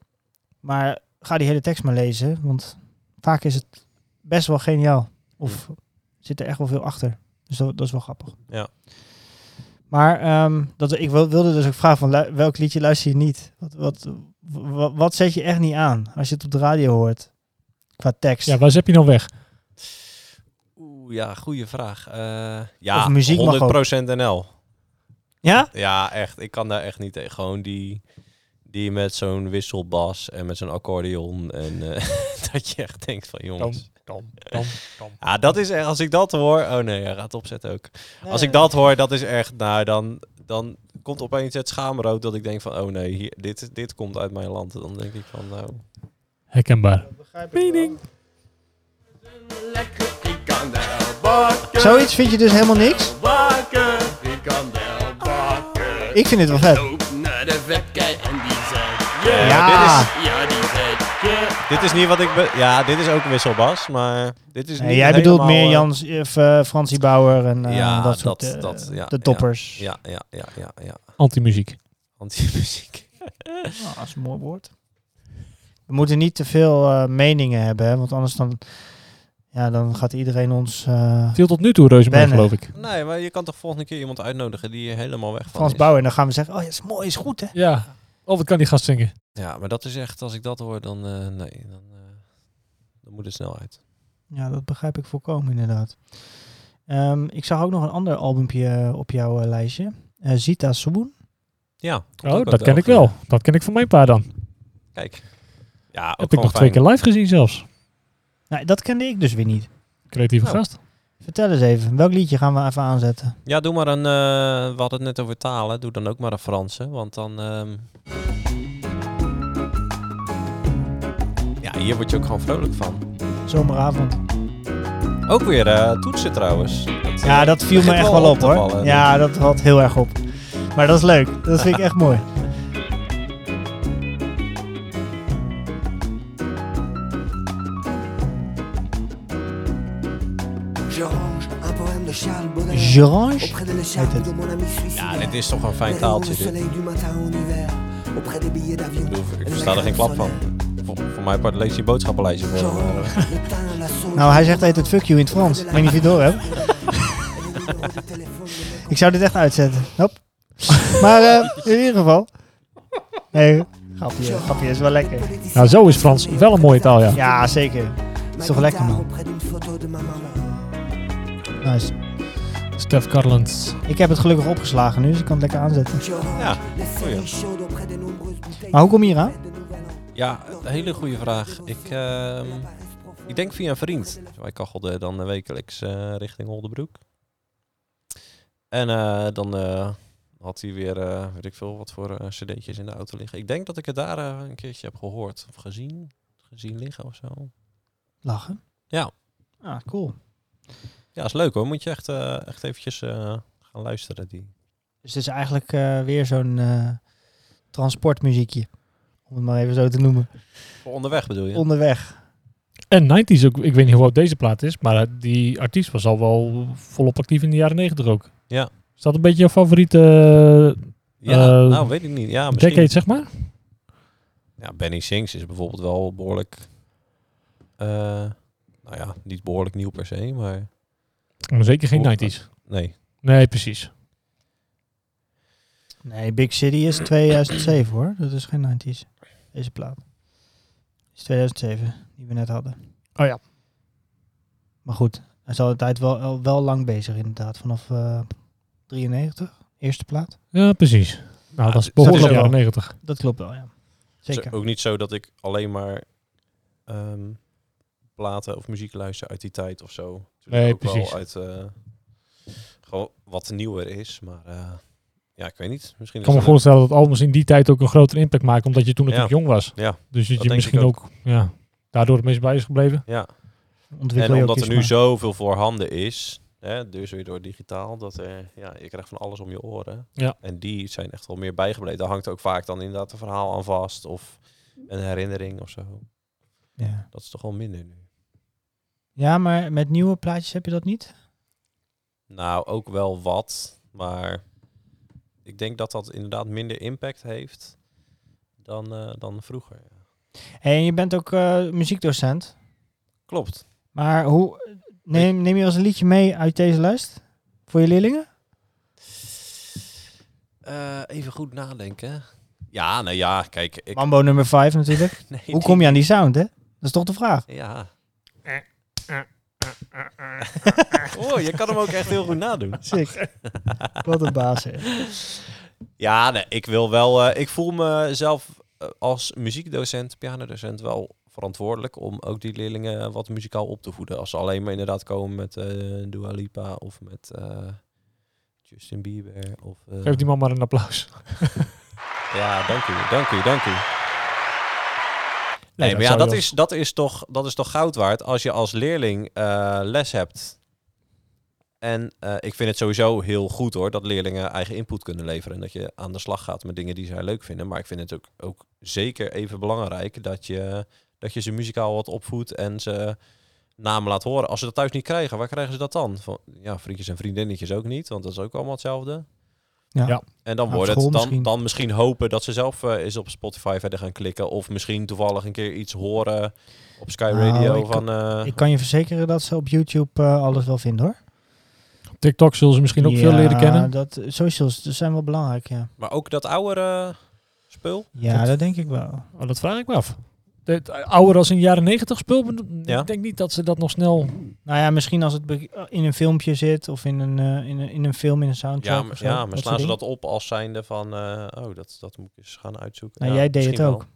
Maar ga die hele tekst maar lezen, want vaak is het best wel geniaal. Of zit er echt wel veel achter. Dus dat, dat is wel grappig. Ja. Maar ehm, dat, ik wil- wilde dus ook vragen van lu- welk liedje luister je niet? Wat, wat, wat, wat zet je echt niet aan als je het op de radio hoort? Qua tekst. Ja, waar zet je nou weg? Oeh, ja, goede vraag. Eh, ja, Of muziek mag ook. 100% NL. ja? Ja, echt. Ik kan daar echt niet tegen. Gewoon die, die met zo'n wisselbas en met zo'n accordeon. En eh, dat je echt denkt van jongens. dan, dan, dan. Ja, dat is echt, als ik dat hoor... Oh nee, hij gaat opzetten ook. Als ik dat hoor, dat is echt... Nou, dan, dan komt opeens het schaamrood dat ik denk van... Oh nee, hier, dit, dit komt uit mijn land. Dan denk ik van... Nou, Herkenbaar. Zoiets vind je dus helemaal niks? Ik vind dit wel vet. ja, Ja. Dit, is, dit is niet wat ik... be- ja, dit is ook wisselbas, maar dit is niet Nee, jij bedoelt helemaal, meer eh, Jans, of, eh, Fransie Bauer en eh, Ja, dat soort dat- eh, dat, ja, de ja. toppers. Ja, ja, ja, ja, ja. Anti-muziek. Anti-muziek. Nou, dat is een mooi woord. We moeten niet te veel eh, meningen hebben, hè, want anders dan, ja, dan gaat iedereen ons... eh, Viel tot nu toe reuze mee, Bennen. geloof ik. Nee, maar je kan toch volgende keer iemand uitnodigen die er helemaal weg van Frans is. Bauer en dan gaan we zeggen, oh ja, is mooi, is goed hè. Ja. Oh, wat kan die gast zingen? Ja, maar dat is echt... Als ik dat hoor, dan... eh, nee, dan, eh, dan moet het snel uit. Ja, dat begrijp ik volkomen inderdaad. Ehm, ik zag ook nog een ander albumpje eh, op jouw eh, lijstje. Eh Zita Soeboen. Ja. komt Oh, ook dat uit ken ik België. wel. Dat ken ik van mijn pa dan. Kijk. Ja, ook Heb ik nog twee keer live gezien zelfs. Nou, dat kende ik dus weer niet. Creatieve Oh. gast. Vertel eens even, welk liedje gaan we even aanzetten? Ja, doe maar een... eh, we hadden het net over talen. Doe dan ook maar een Franse. Want dan... ehm, Ja, hier word je ook gewoon vrolijk van. Zomeravond. Ook weer eh, toetsen trouwens. Dat, Ja, eh, dat viel me begint echt wel op te hoor. vallen. Ja, dat valt heel erg op. Maar dat is leuk. Dat vind ik echt mooi. Je range un poème de Charles Baudelaire Georges? auprès de l'écharpe Heet de het. mon ami suicidaire. Ja, dit is toch een Les fijn rayons taaltje du dit. Ik soleil du matin en hiver auprès des billets d'avion. bedoel, Ik La versta er geen klap crème van. solaire. Voor, voor mijn part lees je boodschappenlijstje voor. Je hem, range eh. le teint, la sauge. Nou, hij zegt heet het fuck you in het Frans. Ik weet niet of je het door hebt. Ik zou dit echt uitzetten. Hop. Maar eh, in ieder geval. Nee, grapje, grapje is wel lekker. Nou, zo is Frans wel een mooie taal, ja. Ja, zeker. is toch lekker, man? Auprès d'une photo de ma maman. Nice. Stef Carlens. Ik heb het gelukkig opgeslagen nu, dus ik kan het lekker aanzetten. Je range Ja, les goeie. séries chaudes auprès des nombreuses bouteilles Maar hoe kom je hier aan? de nouvel an. Ja, een hele goede vraag. Ik, ehm, Paresse profonde. ik denk via een vriend. Wij kachelden dan eh, wekelijks eh, richting Holdenbroek. En eh, dan eh, had hij weer, eh, weet ik veel, wat voor eh, cd'tjes in de auto liggen. Ik denk dat ik het daar eh, een keertje heb gehoord of gezien. Gezien liggen of zo. Lachen. Ja. Ah, cool. Ja, is leuk hoor. Moet je echt, eh, echt eventjes eh, gaan luisteren. Die. Dus het is eigenlijk eh, weer zo'n eh, transportmuziekje. Om het maar even zo te noemen. Voor onderweg bedoel je? Onderweg. En 90s ook. Ik weet niet hoe oud deze plaat is, maar eh, die artiest was al wel volop actief in de jaren 90 ook. Ja. Is dat een beetje jouw favoriete ja, eh, nou weet ik niet. Ja, eh, misschien. decade, zeg maar? Ja, Benny Sings is bijvoorbeeld wel behoorlijk... eh, nou ja, niet behoorlijk nieuw per se, maar... Maar Zeker geen Hoe- 90s. Nee. Nee, precies. Nee, Big City is 2007 hoor. Dat is geen 90s. Deze plaat. Is 2007, die we net hadden. Oh ja. Maar goed, hij is al de tijd wel, al wel lang bezig inderdaad. Vanaf eh 93, eerste plaat. Ja, precies. Nou, Ja, dat is dat behoorlijk is jaren wel- 90. Dat klopt wel, ja. Het is Zeker. ook niet zo dat ik alleen maar ehm, platen of muziek luister uit die tijd of zo. Natuurlijk Nee, ook precies. Wel uit eh, gewoon wat nieuwer is, maar eh, ja, ik weet niet. Misschien Ik is kan dat me een- voorstellen dat albums in die tijd ook een grotere impact maken, omdat je toen natuurlijk Ja. jong was. Ja, Dus dat, dat je denk misschien ik ook, ja, daardoor het meest bij is gebleven. Ja, Ontwikkel en je ook omdat er je nu smaak. zoveel voorhanden is, hè, dus weer door digitaal, dat er, ja, je krijgt van alles om je oren. Ja. En die zijn echt wel meer bijgebleven. Daar hangt ook vaak dan inderdaad een verhaal aan vast of een herinnering of zo. Ja. Dat is toch wel minder nu. Ja, maar met nieuwe plaatjes heb je dat niet? Nou, ook wel wat. Maar ik denk dat dat inderdaad minder impact heeft dan, eh, dan vroeger. ja. Hey, en je bent ook eh, muziekdocent. Klopt. Maar hoe, neem, neem je als een liedje mee uit deze lijst? Voor je leerlingen? Eh, even goed nadenken. Ja, nou ja, kijk. Ik, Mambo nummer 5 natuurlijk. nee, Hoe kom je aan die sound, hè? Dat is toch de vraag? die- Ja. oh, je kan hem ook echt heel goed nadoen. Sick. Wat een baas, hè. Ja, nee, ik wil wel. eh, ik voel mezelf eh, als muziekdocent, pianodocent wel verantwoordelijk om ook die leerlingen wat muzikaal op te voeden. Als ze alleen maar inderdaad komen met eh Dua Lipa of met eh, Justin Bieber. Of, eh, Geef die man maar een applaus. Ja, dank u, dank u, dank u. Nee, dat maar ja, zou dat wel- is, dat, is toch, dat is toch goud waard als je als leerling eh, les hebt. En eh, ik vind het sowieso heel goed hoor, dat leerlingen eigen input kunnen leveren. En dat je aan de slag gaat met dingen die zij leuk vinden. Maar ik vind het ook, ook zeker even belangrijk dat je, dat je ze muzikaal wat opvoedt en ze namen laat horen. Als ze dat thuis niet krijgen, waar krijgen ze dat dan? Van, ja, vriendjes en vriendinnetjes ook niet, want dat is ook allemaal hetzelfde. Ja. Ja. En dan Op wordt het school dan misschien. misschien. dan misschien hopen dat ze zelf eh, eens op Spotify verder gaan klikken. Of misschien toevallig een keer iets horen op Sky Nou, Radio ik kan- van. eh, Ik kan je verzekeren dat ze op YouTube eh, alles wel vinden, hoor. TikTok zullen ze misschien ook veel Ja, leren kennen. Dat, socials dus zijn wel belangrijk, ja. Maar ook dat oudere spul. Ja, Dat- dat, denk ik wel. Oh, dat vraag ik me af. Dit, eh, ouder als in jaren 90 spul, bedo- Ja. ik denk niet dat ze dat nog snel... Nou ja, misschien als het be- in een filmpje zit of in een, eh, in een, in een film, in een soundtrack. Ja, of maar, zo, ja, maar soort slaan ze dingen. dat op als zijnde van. eh, oh, dat, dat moet ik eens gaan uitzoeken. Nou, Ja, jij deed het misschien wel. ook.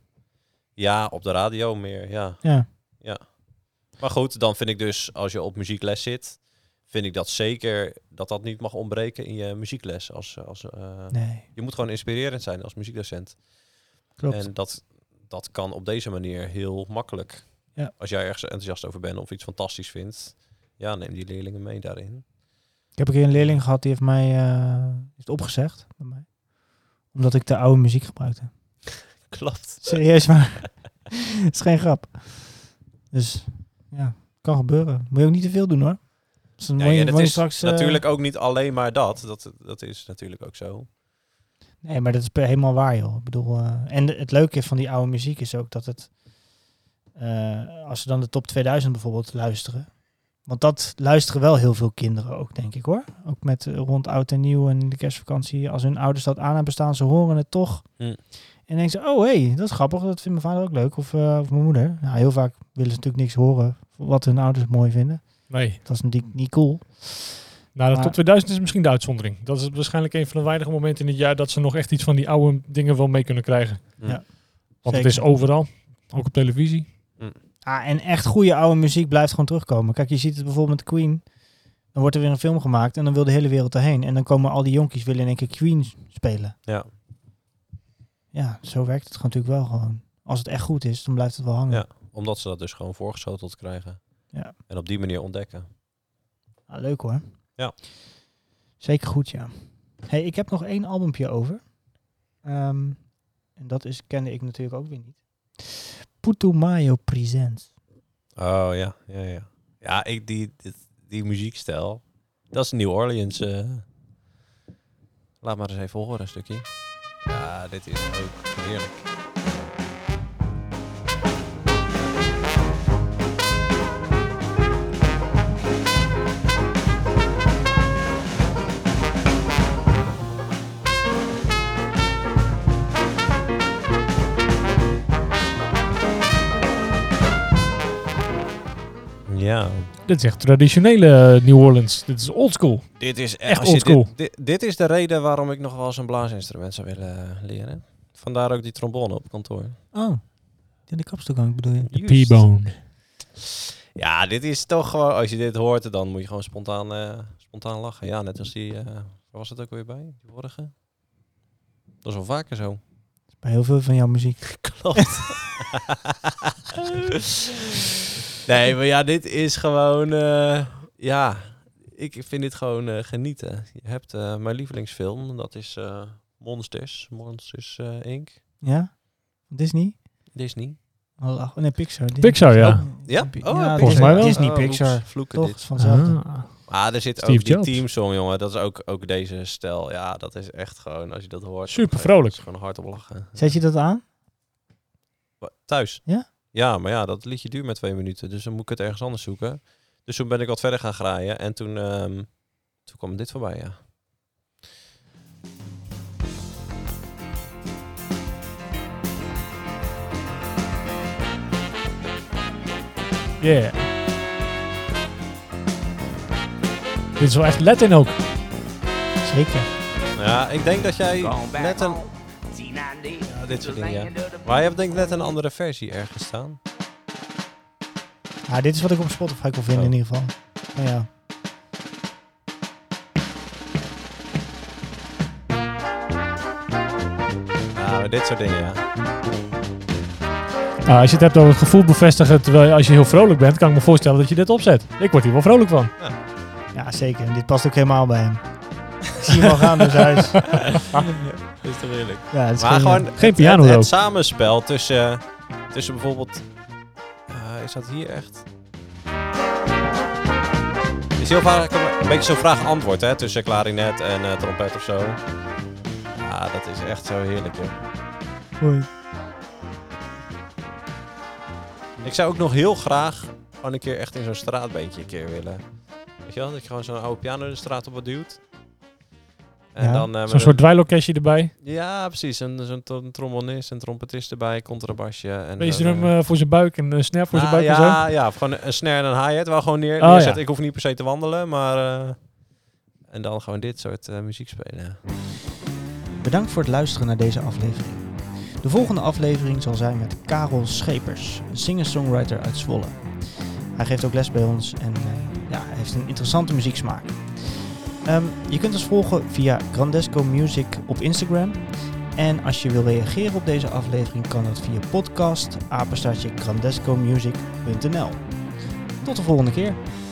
Ja, op de radio meer. Ja. Ja. Maar goed, dan vind ik dus als je op muziekles zit. Vind ik dat zeker dat dat niet mag ontbreken in je muziekles. Als, als, eh, Nee, Je moet gewoon inspirerend zijn als muziekdocent. klopt. En dat, dat kan op deze manier heel makkelijk. Ja. Als jij ergens enthousiast over bent of iets fantastisch vindt, ja, neem die leerlingen mee daarin. Ik heb een keer een leerling gehad die heeft mij eh, heeft opgezegd. Bij mij. Omdat ik de oude muziek gebruikte. Klopt. Serieus maar. Het is geen grap. Dus ja, kan gebeuren. Moet je ook niet te veel doen hoor. Dus dan Ja, word je, ja, dat word je is straks, eh, natuurlijk ook niet alleen maar dat. dat. Dat is natuurlijk ook zo. Nee, maar dat is pe- helemaal waar joh. Ik bedoel, eh, en de- het leuke van die oude muziek is ook dat het... eh, als ze dan de top 2000 bijvoorbeeld luisteren. Want dat luisteren wel heel veel kinderen ook, denk ik hoor. Ook met eh, rond oud en nieuw en de kerstvakantie. Als hun ouders dat aan hebben staan, ze horen het toch. Hm. En denken ze, oh hé, hey, dat is grappig, dat vindt mijn vader ook leuk. Of, eh, of mijn moeder. Nou, heel vaak willen ze natuurlijk niks horen wat hun ouders mooi vinden. Nee. Dat is natuurlijk niet cool. Nou, dat Maar- top 2000 is misschien de uitzondering. Dat is waarschijnlijk een van de weinige momenten in het jaar dat ze nog echt iets van die oude dingen wel mee kunnen krijgen. Hm. Ja. Want Zeker. het is overal, ook op televisie. Ah, en echt goede oude muziek blijft gewoon terugkomen. Kijk, je ziet het bijvoorbeeld met Queen. Dan wordt er weer een film gemaakt en dan wil de hele wereld erheen. En dan komen al die jonkies willen in één keer Queen spelen. Ja. Ja, zo werkt het gewoon natuurlijk wel gewoon. Als het echt goed is, dan blijft het wel hangen. Ja. Omdat ze dat dus gewoon voorgeschoteld krijgen. Ja. En op die manier ontdekken. Ah, leuk hoor. Ja. Zeker goed, ja. Hey, ik heb nog één albumpje over. Ehm, en dat is, kende ik natuurlijk ook weer niet. Putumayo Presents. Oh ja, ja, ja. Ja, ik, die, dit- die muziekstijl, dat is New Orleans. eh. Laat maar eens even horen een stukje. Ja, dit is ook heerlijk. Ja. Dit is echt traditionele eh, New Orleans. Dit is old school. Dit is echt, Echt als je oldschool. Dit, dit, dit is de reden waarom ik nog wel eens een blaasinstrument zou willen eh, leren. Vandaar ook die trombone op kantoor. Oh, in de kapstoelgang bedoel je? Juist. P-Bone. Ja, dit is toch gewoon, als je dit hoort, dan moet je gewoon spontaan, eh, spontaan lachen. Ja, net als die, eh, waar was het ook weer bij? Die vorige? Dat is wel vaker zo. Bij heel veel van jouw muziek. Klopt. nee, maar ja, dit is gewoon, eh, ja, ik vind dit gewoon eh, genieten. Je hebt eh, mijn lievelingsfilm, dat is eh, Monsters, Monsters eh, Inc., Ja? Disney? Disney. Oh, lach- nee, Pixar. Disney. Pixar, ja. Ja? Oh, Pixar. Volgens mij wel. Disney, Oh, Pixar. oeps, vloeken Toch, dit. is vanzelf. Ah. Ah, er zit Steve ook die Jobs. teamsong, jongen. Dat is ook, ook deze stijl. Ja, dat is echt gewoon, als je dat hoort... Super dan ga je- vrolijk. is gewoon hard op lachen. Zet je dat aan? Wa- Thuis? Ja? Ja, maar ja, dat liedje duurt maar twee minuten. Dus dan moet ik het ergens anders zoeken. Dus toen ben ik wat verder gaan graaien. En toen, ehm, toen kwam dit voorbij, ja. Yeah. Dit is wel echt Latin ook. Zeker. Ja, ik denk dat jij net een... Ja, dit soort dingen, ja. Maar je hebt denk ik net een andere versie ergens staan. Ah, dit is wat ik op Spotify kon vinden Oh. in ieder geval. Nou ja. Ja, maar dit soort dingen, ja. Nou, als je het hebt over het gevoel bevestigen, terwijl je- als je heel vrolijk bent, kan ik me voorstellen dat je dit opzet. Ik word hier wel vrolijk van. ja, zeker. En dit past ook helemaal bij hem. Ik zie hem al gaan door zijn huis. Is toch eerlijk? Ja, het is eh, Maar gewoon Geen het, piano het, ook. het samenspel tussen, tussen bijvoorbeeld... eh, is dat hier echt? Het is heel vaak een, een beetje zo'n vraag-antwoord, hè? Tussen klarinet en eh, trompet of zo. Ja, dat is echt zo heerlijk, joh. Mooi. Ik zou ook nog heel graag gewoon een keer echt in zo'n straatbeentje een keer willen. Weet je wel? Dat je gewoon zo'n oude piano de straat op wat duwt. En Ja, dan... eh, met Zo'n een- soort dweilorkestje erbij. Ja, precies. En zo'n to- trombonist en trompetist erbij, contrabasje. En Wees dan, er hem eh, eh, voor zijn buik en een snare voor zijn Ah, buik en zo. ja, ja, of gewoon een snare en een hi-hat. Wel gewoon neer, Oh, neerzetten. ja. Ik hoef niet per se te wandelen, maar... eh, en dan gewoon dit soort eh, muziek spelen. Bedankt voor het luisteren naar deze aflevering. De volgende aflevering zal zijn met Karel Schepers, een singer-songwriter uit Zwolle. Hij geeft ook les bij ons en eh, ja, hij heeft een interessante muzieksmaak. Ehm, je kunt ons volgen via Grandesco Music op Instagram. En als je wil reageren op deze aflevering, kan dat via podcast apenstaartje grandescomusic.nl. Tot de volgende keer.